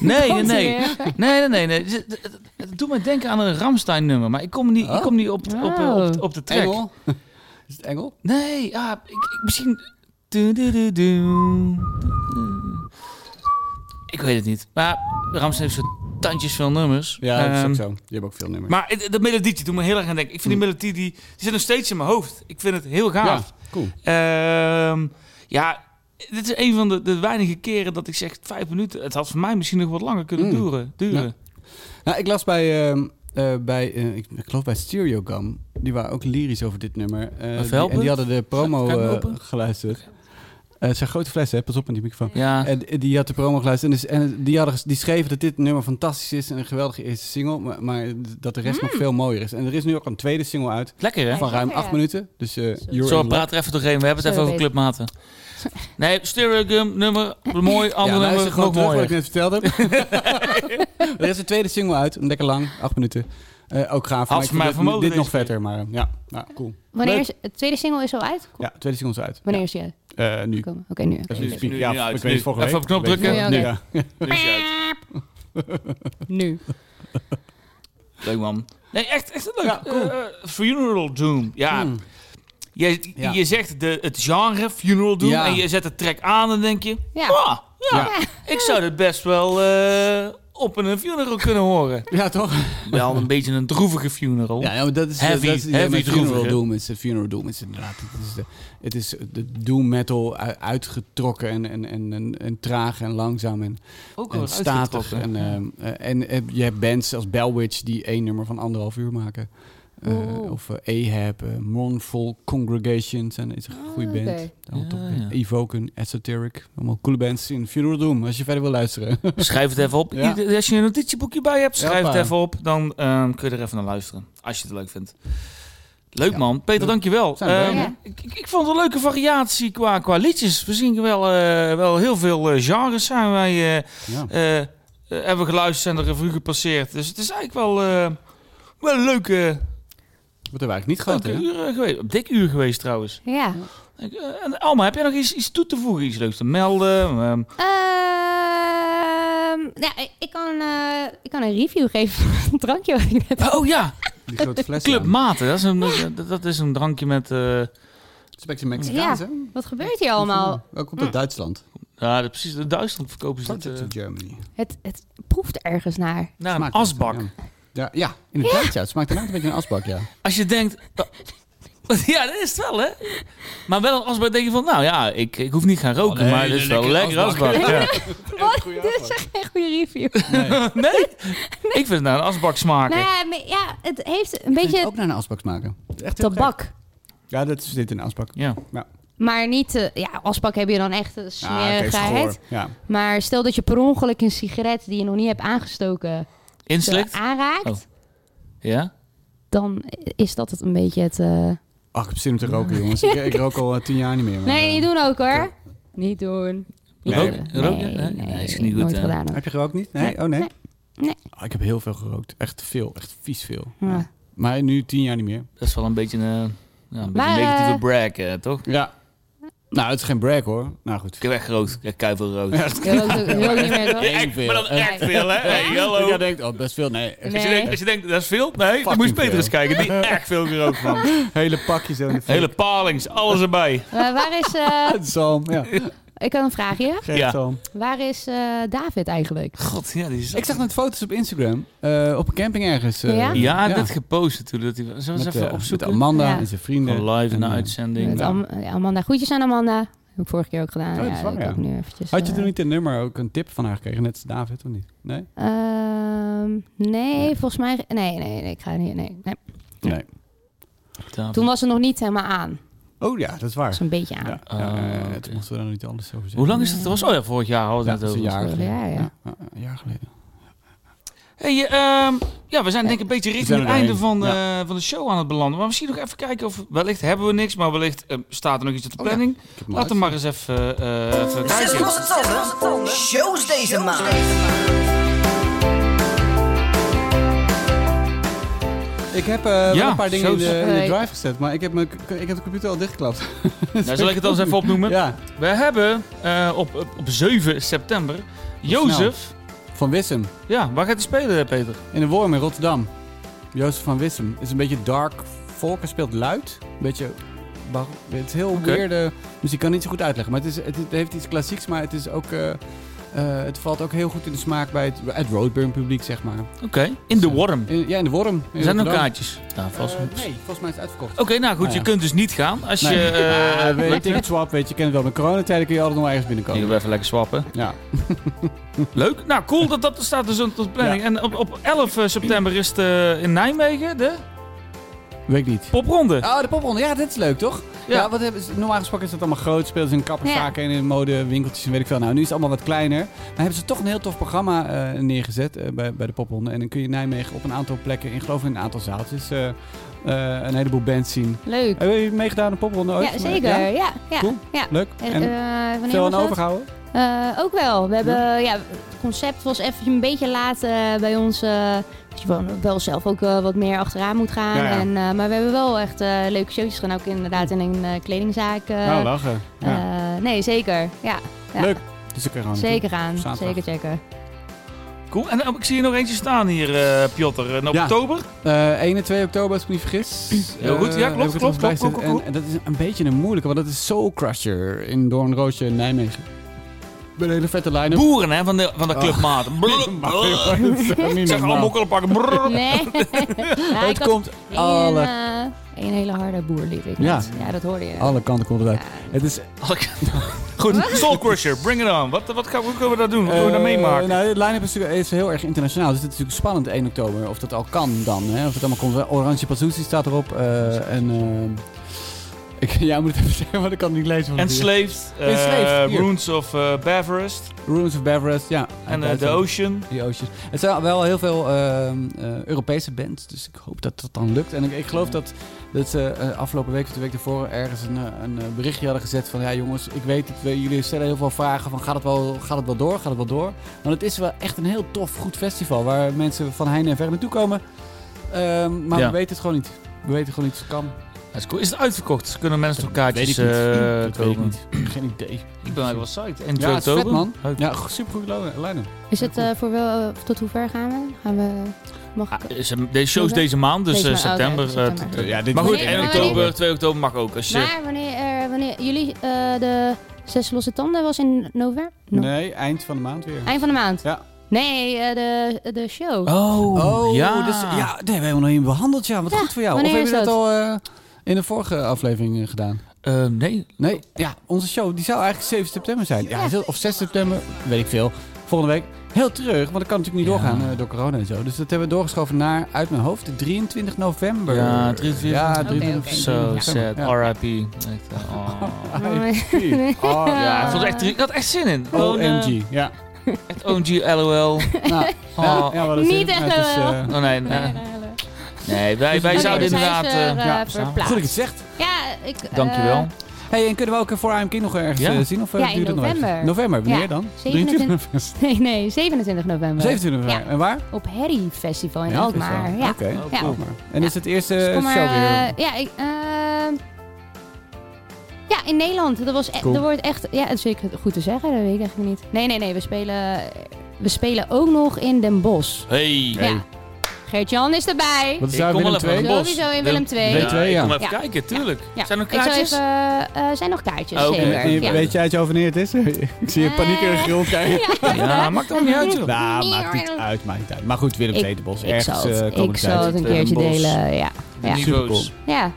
Nee, nee, Komt nee. ie Nee, nee, nee. nee. Het- het- het- Het doet mij denken aan een Ramstein-nummer, maar ik kom niet, ik Oh. kom niet op, op, op, Oh. op, op de track. Engel. Is het Engel? Nee, ah, ik, ik, misschien... Du- du- du- du. Ik weet het niet. Maar Ramstein heeft zo tandjes veel nummers. Ja, dat is Ehm, ook zo. Mm. Je hebt ook veel nummers. Maar het- dat melodietje doet me heel erg aan denken. Ik vind die melodie, die, die zit nog steeds in mijn hoofd. Ik vind het heel gaaf. ja, cool. Ehm, ja, dit is een van de, de weinige keren dat ik zeg vijf minuten. Het had voor mij misschien nog wat langer kunnen Mm. duren. duren. Ja. Nou, ik las bij, ehm, eh, bij eh, ik, ik geloof bij Stereogum, die waren ook lyrisch over dit nummer. Eh, Even die- helpen? en die hadden de promo Kan ik hem eh, open? geluisterd. Eh, het zijn grote flessen, hè? pas op met die microfoon. Ja. En die- die had de promo geluisterd en, dus- en die, hadden, ges- die schreven dat dit nummer fantastisch is en een geweldige eerste single, maar, maar dat de rest nog veel mooier is. En er is nu ook een tweede single uit Lekker hè? Ja. van ruim lekker, acht ja. minuten. Dus eh, You're Zo, in Love. praat er even doorheen. We hebben het Zo even over bezig. clubmaten. Nee, Stereogum nummer, mooi. Ja, Ander nou is nummer, het nog gewoon terug wat mooier. ik net verteld heb. er is een tweede single uit, lekker lang, acht minuten. Eh, ook Had gaaf. maar voor ik vind mij dit- vermogen Dit deze nog vetter, maar eh, ja, ja, cool. Wanneer Leuk. is, het tweede single is al uit? Ja, tweede single is uit. Wanneer is die uitgekomen? Ja. Eh, nu. Oké, nu. Dat Nu, is nu speak. nu, Ja, nu uit. ik weet Nu. het volgende Even week. op knop Ik weet het drukken. volgende week. Ja. Nu is hij uit. Nu. Leuk man. Nee, echt, echt leuk. Eh, eh, funeral Doom. Ja. Hmm. Je, Ja. je zegt de, het genre Funeral Doom Ja. en je zet de track aan en denk je... Oh, Ja. "Ah, ja, Ja. ik zou dit best wel eh, op een funeral kunnen horen. Ja, toch? wel een beetje een droevige funeral. Ja, ja, maar dat is eh, Heavy, dat is het idee heavy met Funeral droevig, hè? Doom. Is, eh, funeral Doom is inderdaad. Het is de, het is de doom metal u- uitgetrokken en, en, en, en, en traag en langzaam en, Ook wel en statig. uitgetrokken. En, ehm, eh, en eh, je hebt bands als Bellwitch die één nummer van anderhalf uur maken. Eh, Oeh. Of eh, Ahab, eh, Mournful Congregation zijn is een goede Ah, band. oké. Allemaal Ja, topbands. ja. Evoken, Esoteric. Allemaal coole bands in Funeral Doom. Als je verder wil luisteren. Schrijf het even op. Ja. Ieder- Als je een notitieboekje bij hebt, schrijf het Hoppa. even op. Dan ehm, kun je er even naar luisteren. Als je het leuk vindt. Leuk Ja. man. Peter, Leuk. dankjewel. Zijn we Ehm, bij, hè? ik, ik- ik vond het een leuke variatie qua, qua liedjes. We zien wel, eh, wel heel veel eh, genres zijn wij... eh, ja. eh, eh, hebben geluisterd, zijn de revue gepasseerd. Dus het is eigenlijk wel, eh, wel een leuke, Wat hebben we eigenlijk niet gehad, leuke hè? uur eh, geweest. Een dik uur geweest trouwens. Ja. Ik, eh, En Alma, heb jij nog iets, iets toe te voegen? Iets leuks te melden? Ehm, Ehm, ja, ik- ik kan, eh, ik kan een review geven van het drankje wat ik net oh ja, Die grote fles. Club Mate. Dat is een, dat- dat is een drankje met... eh, Spectrum Mexicaans, Ja. hè? Wat gebeurt hier allemaal? Ook komt uit Duitsland. ja, dat- precies. De Duitsland verkopen ze dit, Project Hm. eh, in Germany. Het, het proeft ergens naar. naar Nou, een Smaakt het, asbak. Ja, ja, ja inderdaad. Ja. het smaakt inderdaad een beetje een asbak, ja. Als je denkt... eh, Ja, dat is het wel, hè? Maar wel als bij denk je van, nou ja, ik, ik hoef niet gaan roken, Oh, nee, maar dit is wel lekker lekker asbak. Ja. Wat? Dit is echt geen goede review. Nee? Ik vind het nou een asbak smaken. Nou ja, maar ja, het heeft een Kun je het beetje ook naar een asbak smaken? Echt heel tabak. gek. Ja, dat zit in een asbak. Ja. Maar niet, eh, ja, asbak heb je dan echt Ah, eh, oké, smerigheid. schoor. Ja. maar stel dat je per ongeluk een sigaret die je nog niet hebt aangestoken eh, Inslikt? aanraakt, Oh. ah. Ja? dan is dat het een beetje het. eh, Ach, ik heb zin om te roken, jongens. Ik, ik rook al eh, tien jaar niet meer. maar, Nee, eh, niet doen ook hoor. Niet doen. Nee. Rook, Roken? rook, ja? Nee, is niet goed. nooit hè? gedaan. Heb Hoor. je gerookt niet? Nee? Nee. Oh, nee? Nee. Nee. Oh, ik heb heel veel gerookt. Echt veel. Echt vies veel. Ja. Maar nu tien jaar niet meer. Dat is wel een beetje een, eh, ja, een beetje Maar, negatieve eh, brag, eh, toch? Ja. Nou, het is geen brag hoor. Nou goed. Ik heb echt rood, ik heb kuivelrood. Ja, Je rookt ook- je rookt niet meer, toch? Echt, maar dan echt veel, hè? Hey, hallo. Ja, denkt, oh, best veel. Nee, echt Als, Nee. je denkt, als je denkt, dat is veel? Nee, dan moet je Fucking Peter veel. eens kijken. Die echt veel gerookt man. hele pakjes. zo in de Hele palings, alles erbij. Maar waar is... eh, Zalm, ja. ik had een vraagje. Geen Ja. zalm. Waar is eh, David eigenlijk? God, ja, die is... Ik zag net foto's op Instagram. eh, op een camping ergens. eh, Ja? Ja, net gepost toen. Dat hij... Zullen we eens Met, even eh, opzoeken? met Amanda Ja. en zijn vrienden. Gewoon live in de En, eh, uitzending. Met Am- eh, Amanda. Groetjes aan Amanda. Heb ik vorige keer ook gedaan. Oh, dat is ja, waar, ik ja. ook nu eventjes, Had je eh, toen niet een nummer, ook een tip van haar gekregen? Net als David, of niet? Nee? Ehm, nee, volgens mij... Nee, nee, nee. Ik ga niet... Nee, nee. Nee. David. Toen was ze nog niet helemaal aan. Oh ja, dat is waar. Dus een beetje Ja, aan. ja, Oh, ja, ja, oké. Toen mochten we daar nog niet anders over zeggen. Hoe lang is dat? Dat was, oh ja, vorig jaar hadden we Ja, het dat is over. een jaar Vorig geleden. jaar, ja. ja, een jaar geleden. Hey, ehm, ja, we zijn denk ik een beetje richting zijn het er einde doorheen. van, eh, van de show aan het belanden. Maar misschien nog even kijken of... Wellicht hebben we niks, maar wellicht eh, staat er nog iets op Oh de planning. Ik heb hem Laten we maar eens even, eh, even Zes kijken. losse tanden. Shows deze maand. Ik heb eh, wel Ja, een paar dingen in de, zo is- in de Nee. drive gezet, maar ik heb, mijn, c- ik heb de computer al dichtgeklapt. Nou, zal ik het dan eens even opnoemen? ja, We hebben eh, op, op, op 7 september Jozef. van Wissem. Ja, waar gaat hij spelen, Peter? In de Worm in Rotterdam. Jozef van Wissem. is een beetje dark folk. Hij speelt luid. Een beetje... bar- Het is heel weirde muziek. Ik kan het niet zo goed uitleggen. Maar het, is, het, het heeft iets klassieks, maar het is ook... eh, eh, het valt ook heel goed in de smaak bij het, het Roadburn publiek, zeg maar. Oké, in de worm. In- ja, in de Worm. in Hm. Zijn er nog Rotterdam. kaartjes? Nou, vast. Eh, Oké, nee, volgens mij is het uitverkocht. nou goed, Nou je ja. kunt dus niet gaan als Nee. je... eh, Ah, weet je, swap, weet je, je kent het wel. Met coronatijden kun je altijd nog ergens Hier binnenkomen. we even lekker swappen. Ja. eh, Leuk. Nou, cool dat dat staat dus op de planning. En op, op 11 september is het eh, in Nijmegen de Weet ik niet. popronde. Oh, de popronde. Ja, dat is leuk, toch? Ja. Ja, wat hebben ze- normaal gesproken is dat allemaal groot. Spelen ze in kapperszaken en in modewinkeltjes en weet ik veel. Nou, nu is het allemaal wat kleiner. Maar hebben ze toch een heel tof programma eh, neergezet eh, bij, bij de popronde. En dan kun je Nijmegen op een aantal plekken, in geloof ik in een aantal zaaltjes, eh, eh, een heleboel bands zien. Leuk. Hebben jullie meegedaan aan de popronde ooit? Ja, zeker. Ja, ja. ja. Cool. Leuk. Eh, En eh, wanneer veel aan was dat? overgehouden? Eh, ook wel. We hebben, ja. het concept was even een beetje laat eh, bij ons. eh, dat je wel, wel zelf ook eh, wat meer achteraan moet gaan. Ja, ja. En, eh, maar we hebben wel echt eh, leuke showtjes gedaan. Ook inderdaad in een eh, kledingzaak. eh, nou, lachen. Ja. eh, nee, zeker. Ja, ja. Leuk. Dus ik kan gewoon Zeker gaan. Zaterdag. Zeker checken. Cool. En eh, ik zie hier nog eentje staan hier, eh Piotr. En op Ja. oktober? Eh 1 en 2 oktober, als ik me niet vergis. Heel goed, ja, Eh, klopt, heb ik het klopt, erbij klopt, gezet. klopt, klopt. En, en dat is een beetje een moeilijke, want dat is Soul Crusher in Doornroosje in Nijmegen. Met een hele vette line-up. Boeren, hè, van de, van de clubmaten. Brrr, brrr. Dat is echt niet Zeg, allemaal normaal. mokkelen pakken. Brrr. Nee. Nou, ik Oh. Het had komt één, alle, eh, één hele harde boer liet ik Ja. net. ja, dat hoorde je. alle kanten komt het uit. Ja. Het is, Goed, Soul Crusher, bring it on. Wat, wat, gaan, we- hoe kunnen we daar doen? Wat kunnen we daar eh, meemaken? Nou, de line-up is, natuurlijk- is heel erg internationaal. Dus het is natuurlijk spannend 1 oktober. Of dat al kan dan. Hè? Of het allemaal komt. Oranje Pazuzzi staat erop. eh, en... eh, ik, jij moet het even zeggen, want ik kan het niet lezen. van het hier. Enslaved, eh, Enslaved, hier. Runes of eh Baverest Ruins of Beverest, ja. en eh, Uit The Duitsland. Ocean. Die oostjes. Het zijn wel heel veel ehm, eh, Europese bands, dus ik hoop dat dat dan lukt. En ik, ik geloof dat, dat ze eh, afgelopen week of de week daarvoor ergens een, eh, een eh, berichtje hadden gezet van... Ja jongens, ik weet het, we- jullie stellen heel veel vragen van gaat het, wel, gaat het wel door, gaat het wel door? Want het is wel echt een heel tof, goed festival waar mensen van heine en ver naartoe komen. Ehm, maar Ja. we weten het gewoon niet. We weten gewoon niet of het kan. Dat is, cool. is het uitverkocht? Kunnen mensen nog kaartjes weet ik niet. eh, dat weet ik kopen? niet. Geen idee. Ik ben eigenlijk wel psyched. En Ja, het is vet, man. Leuk. Ja, supergoed lijnen. Is het eh, voor wel, eh, tot hoe ver gaan we? Gaan we mag ik, Ah, is hem- deze show is deze maand, dus Deze eh, maand, oké, september. eh, september. tot- Ja, dit maar goed, eh, Nee, 1 maar oktober, 2 oktober mag ook. Eh, Als je, Maar wanneer, er- wanneer jullie eh, de zes losse tanden was in november? No- Nee, eind van de maand weer. Eind van de maand? Ja. Nee, eh, de, de show. Oh, Oh, ja. ja. Dus, ja, daar hebben we helemaal nog niet behandeld. Ja, wat goed voor jou. Of wanneer hebben we is dat, al eh, in de vorige aflevering eh, gedaan? Eh, nee, Nee, ja, onze show die zou eigenlijk 7 september zijn. Ja, Ja. heel- Of 6 september, weet ik veel. Volgende week. Heel terug, want dat kan natuurlijk niet Ja. doorgaan eh, door corona en zo. Dus dat hebben we doorgeschoven naar, uit mijn hoofd, de 23 november. Ja, 23. Ja, Oké, 23 oké. so sad. Ja. RIP. Echt, eh, oh. Oh, Ja, ik ja. vond het echt, ik had echt zin in. Gewoon, Oh, eh, OMG. Ja. echt OMG, LOL. Nou, Oh. ja, wat is Niet het? echt, Het is, eh, eh, Oh, nee, nee. Nee, wij, wij Oké, zouden dus hij inderdaad... Zij is er, eh, eh, ja, verplaatst. Goed dat je het zegt. Ja, ik... eh, Dankjewel. hey, en kunnen we ook eh, voor AMK nog ergens Ja. eh, zien? Of, eh, Ja, in duurt het nog even? november. November, wanneer Ja, dan? 27 november. nee, nee, 27 november. 27 november. En waar? Op Harry Festival in Ja, Alkmaar. festival. Eh, Ja. Oké. Oh, Ja. cool. En is het eerste Dus kom maar, show weer? eh, ja, ik... eh, Ja, in Nederland. Dat was e- Cool. er wordt echt. Ja, dat is zeker goed te zeggen, dat weet ik eigenlijk niet. Nee, nee, nee. We spelen, we spelen ook nog in Den Bosch. Hey. Ja. Geert-Jan is erbij. Wat is Ik daar kom wel Willem even aan II? het bos. Sowieso in Willem II. Willem II, ik ja. kom even Ja. kijken, tuurlijk. Ja. Zijn er Ik zou kaartjes? even, eh, eh, zijn nog kaartjes? Oh, oké. zeker. Nee, ja. eh, Weet jij het over wanneer het is? Ik zie je Eh, paniekerig rond kijken. Ja, maakt dan niet uit. joh. Nou, maakt niet uit, maakt niet uit. Maar goed, Willem Ik- II de Bos. Ik Ergens zal eh, het, ik komende zal het tijd. een keertje eh, Den Bosch. delen. Ja. Ja. Niveaus. ja.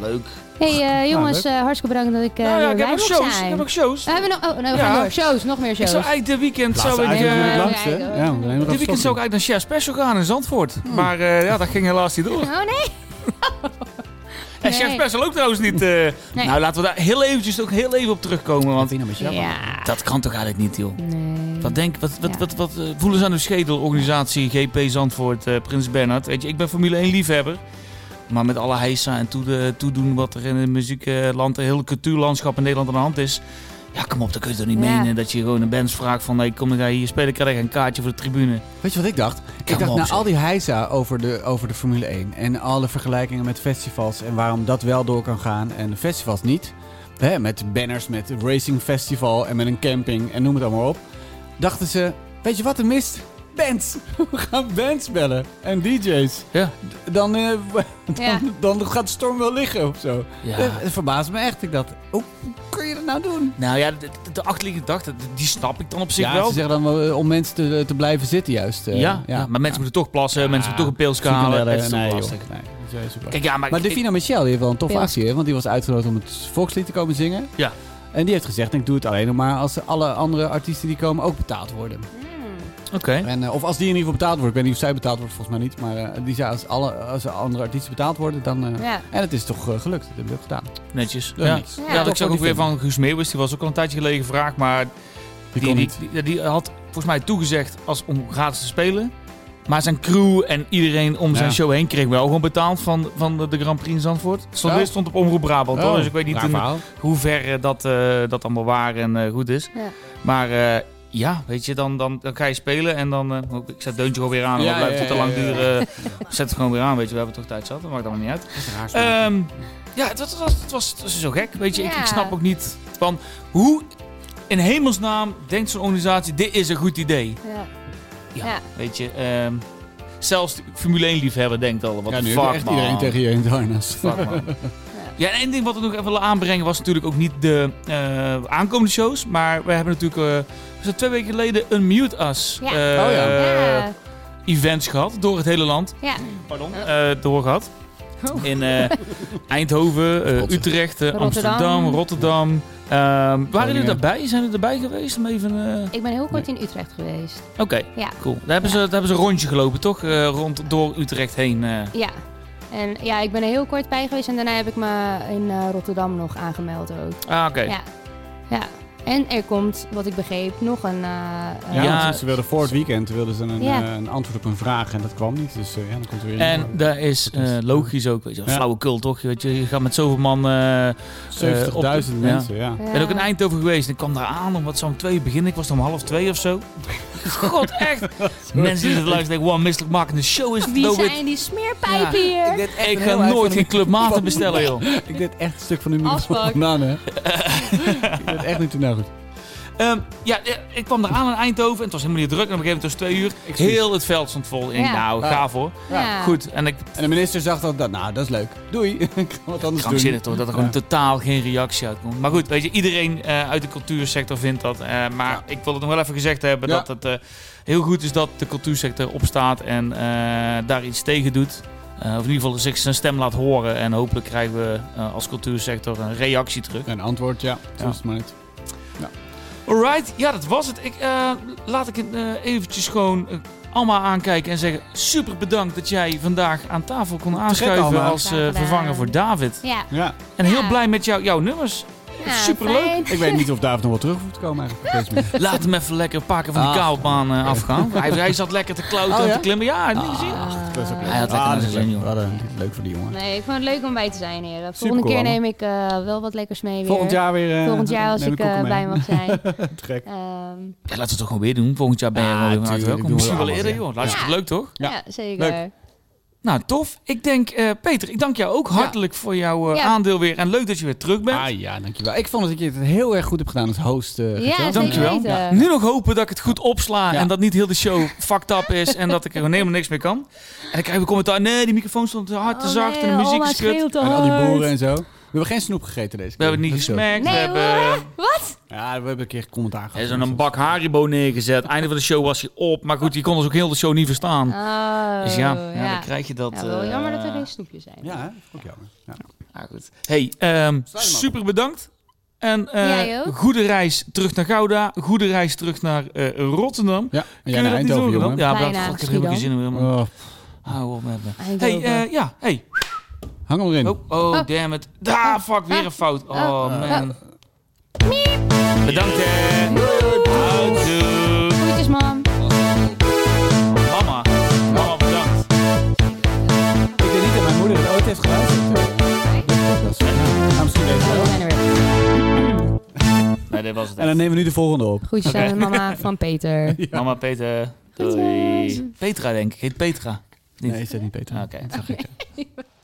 Leuk. Hey eh, jongens, leuk. eh, hartstikke bedankt dat ik eh Ah, Nou ja, weer ik heb bij nog mocht shows. Ik zijn. heb nog shows. We hebben nog, oh, nou, we Ja. gaan door. Shows, nog meer Ik shows. zou eigenlijk dit weekend zou ik... Laatste eh, uitzending eh, natuurlijk langst, hè? Ja, kijken. we nemen er dit weekend zou afstand ik eigenlijk naar Chef Special gaan in Zandvoort. Maar eh, ja, dat ging helaas niet door. Oh Hmm. nee. En Chef Nee. Special ook trouwens niet. eh, Nou, laten we daar heel eventjes ook heel even op terugkomen. Want Ja. dat kan toch eigenlijk niet, joh. Nee. Wat denk wat, wat, Ja. wat, wat, eh, voelen ze aan de schedel, organisatie GP Zandvoort, eh, Prins Bernhard? Weet je, ik ben Formule 1 liefhebber. Maar met alle heisa en toede- toedoen wat er in het muziekland, het hele cultuurlandschap in Nederland aan de hand is. Ja, kom op, dan kun je toch niet Ja. menen dat je gewoon een band vraagt van... Hey, kom, ik ga hier spelen, krijg ik een kaartje voor de tribune. Weet je wat ik dacht? ik dacht, op, na zeg. al die heisa over de, over de Formule 1 en alle vergelijkingen met festivals en waarom dat wel door kan gaan en festivals niet. Hè, met banners, met een racing festival en met een camping en noem het allemaal op. Dachten ze, weet je wat er mist? Bands. We gaan bands bellen en DJ's. Ja. D- Dan, eh, w- dan, Ja. dan gaat de storm wel liggen of zo. Ja. Eh, Het verbaast me echt. Ik dacht, hoe kun je dat nou doen? Nou ja, de, de- de achterliggende gedachte, d- die snap ik dan op zich ja, wel. ze zeggen dan wel, eh, om mensen te, te blijven zitten juist. eh, ja, ja. maar mensen moeten toch plassen, mensen moeten toch een pilsje halen. Het is toch nee, lastig. joh. Nee, dat is heel super. Kijk, ja, maar, Maar ik- Davina Michel die heeft wel een toffe Pils. actie, hè? want die was uitgenodigd om het volkslied te komen zingen. Ja. En die heeft gezegd, ik doe het alleen nog maar als alle andere artiesten die komen ook betaald worden. Oké. En, eh, of als die in ieder geval betaald wordt. Ik weet niet of zij betaald wordt, volgens mij niet. Maar eh, die zei, als alle als andere artiesten betaald worden, dan... eh, Ja. En het is toch eh, gelukt, dat hebben we ook gedaan. Netjes. Ja, Ja. niks. Ja. Ja, Toch dat ik zag ook voor die weer van Guus Meeuwis. Die was ook al een tijdje geleden gevraagd. Maar die, die, kon niet. die- die had volgens mij toegezegd als om gratis te spelen. Maar zijn crew en iedereen om zijn Ja. show heen kreeg wel gewoon betaald van, van de, de Grand Prix in Zandvoort. Stond, Oh. dit stond op Omroep Brabant. hoor. Oh, Dus ik weet niet raar in verhaal. hoeverre dat, eh, dat allemaal waar en eh, goed is. Ja. Maar eh, ja, weet je, dan, dan, dan ga je spelen en dan... eh, oh, ik zet deuntje gewoon weer aan. Ja, Ja, blijft ja, het te ja, lang ja, ja. duren. Eh, zet het gewoon weer aan, weet je. We hebben toch tijd zat. Dat maakt allemaal niet uit. Raar verhaal. Ehm, ja, het was, het, was, het was- het was zo gek. Weet je, ik, Ja. ik snap ook niet van hoe in hemelsnaam denkt zo'n organisatie: dit is een goed idee. Ja. Ja. Ja. Weet je, ehm, zelfs de Formule 1-liefhebber denkt al: wat ja, een nu fuck, heeft echt man. iedereen tegen je in het harnas. Fuck, man. Ja, en één ding wat ik nog even wil aanbrengen was natuurlijk ook niet de eh, aankomende shows. Maar we hebben natuurlijk, eh, we zijn twee weken geleden een Mute Us Ja. eh, Oh ja. Ja. events gehad door het hele land Ja. Oh. pardon, eh, doorgehad. In eh, Eindhoven, eh, Rotterdam. Utrecht, eh, Rotterdam. Amsterdam, Rotterdam. Ehm, waren jullie Groningen. daarbij? Zijn jullie erbij geweest? Om even, eh, Ik ben heel kort in Utrecht geweest. Oké, Ja. cool. Daar hebben, ze, daar hebben ze een rondje gelopen, toch? Eh, rond door Utrecht heen. eh. Ja. En ja, ik ben er heel kort bij geweest en daarna heb ik me in eh, Rotterdam nog aangemeld ook. Ah, oké. Ja. Ja. En er komt, wat ik begreep, nog een... eh, eh, Ja, Ja. want ze wilden voor het weekend wilden ze een, Ja. eh, een antwoord op een vraag en dat kwam niet. Dus eh, ja, dan komt er weer een En antwoord. daar is Dat is- eh, logisch ook, weet je, wel, Ja. flauwekul toch? Je, weet je, je gaat met zoveel man... eh, 70.000 op- mensen, ja. ja. Ik ben ook in Eindhoven geweest en ik kwam daar aan om wat zo om twee uur beginnen. Ik was er om half twee of zo. God, echt. Mensen die er luisteren denken, wow, misselijk maken. De show is Wie over. zijn die smeerpijpen hier? Ik heel ga nooit eigen- geen Club Maarten bestellen, joh. Ik deed echt een stuk van de Afspraak. microfoon aan, hè. ik deed echt niet toen nou goed. Ehm, ja, eh, ik kwam eraan in Eindhoven en het was helemaal niet druk. En op een gegeven moment was het twee uur. Excuus. Heel het veld stond vol. En ik, Ja. Nou, Ah. gaaf hoor. Ja. Goed, en ik... En de minister zag dat, dat nou, dat is leuk. Doei. ik ga wat anders Krankzinnig doen. toch, dat er gewoon Ja. totaal geen reactie uitkomt. Maar goed, weet je, iedereen eh, uit de cultuursector vindt dat. Eh, maar Ja. ik wil het nog wel even gezegd hebben Ja. dat het eh, heel goed is dat de cultuursector opstaat en eh, daar iets tegen doet. Eh, of in ieder geval zich zijn stem laat horen. En hopelijk krijgen we eh, als cultuursector een reactie terug. Een antwoord, ja. Zo Ja. is het maar niet. Alright, ja, dat was het. Ik, eh, laat ik eh, eventjes gewoon eh, Alma aankijken en zeggen... super bedankt dat jij vandaag aan tafel kon aanschuiven Alma. als eh, Graag gedaan. vervanger voor David. Ja. Ja. En heel Ja. blij met jou, jouw nummers. Ja, Superleuk. fijn. Ik weet niet of David nog wel terug hoeft te komen eigenlijk. op deze manier. Laat hem even lekker een paar keer van die Ah. kabelbaan eh, afgaan. hij, hij zat lekker te klauteren Oh, en ja? te klimmen. Ja, Ah. niet gezien. Dat is ook leuk. Hij had lekker Ah, naar zijn dat is zin, leuk. joh. Wat een- leuk voor die jongen. Nee, ik vond het leuk om bij te zijn, heren. Volgende Supercool, keer allemaal. neem ik eh, wel wat lekkers mee weer. Volgend jaar weer... eh, Volgend jaar als neem ik ook eh, mee. blij mag zijn. Ja, Gek. Ehm, laten we het toch gewoon weer doen. Volgend jaar ben je Ja, gewoon weer van harte tuurlijk, welkom. doen Misschien wel we allemaal eerder, weer. joh. Hartstikke Ja. leuk, toch? ja. Ja. zeker. Leuk. Nou, tof. Ik denk, eh, Peter, ik dank jou ook hartelijk voor jouw eh, Ja. aandeel weer. En leuk dat je weer terug bent. Ah ja, dankjewel. Ik vond dat je het heel erg goed hebt gedaan als host. eh, Gertjan. zeker Dankjewel. weten. Oh, Ja. Nu nog hopen dat ik het goed opsla Ja. en dat niet heel de show fucked up is en dat ik er gewoon helemaal niks mee kan. En dan krijg ik commentaar, nee, die microfoon stond te hard, te Oh, zacht nee, en de muziek Alma is kut. schreeuwt te En al die hard. boeren en zo. We hebben geen snoep gegeten deze keer. We hebben het niet Dat scheelt. gesmakt, Nee, we hebben Wat? Ja, we hebben een keer commentaar er is gehad. een bak Haribo neergezet. Einde van de show was hij op, maar goed, die kon ons ook heel de show niet verstaan. Oh, dus ja, ja, dan krijg je dat. Ja, wel eh, jammer dat er geen snoepjes zijn. Ja, hè? ook jammer. Ja. ah, goed. Hey, ehm, Sluit hem af. super bedankt. En eh, Jij ook. goede reis terug naar Gouda, goede reis terug naar eh, Rotterdam. Ja, en Kun jij je naar dat niet Eindhoven, doen, jongen. Ja, Bijna, maar god, ik heb helemaal geen zin in. helemaal. Oh, Hou op met me. Hey, Eindhoven. eh, ja, hey. hang hem erin. Oh, oh, damn it. Ah, fuck, weer een fout. Oh, man. Bedankt, hè. Houdoe. Groetjes, mam. Mama. Mama, bedankt. Ik denk niet dat mijn moeder het ooit heeft geluisterd. Dat is- Ja, misschien deze wel. We zijn er weer. Nee, dit was het. En dan nemen we nu de volgende op. Groetjes aan mama van Peter. Mama, eh. Peter. Doei. Petra, denk ik. Heet Petra. Ah, Nee, is dat niet Peter. Oké, dat zag ik.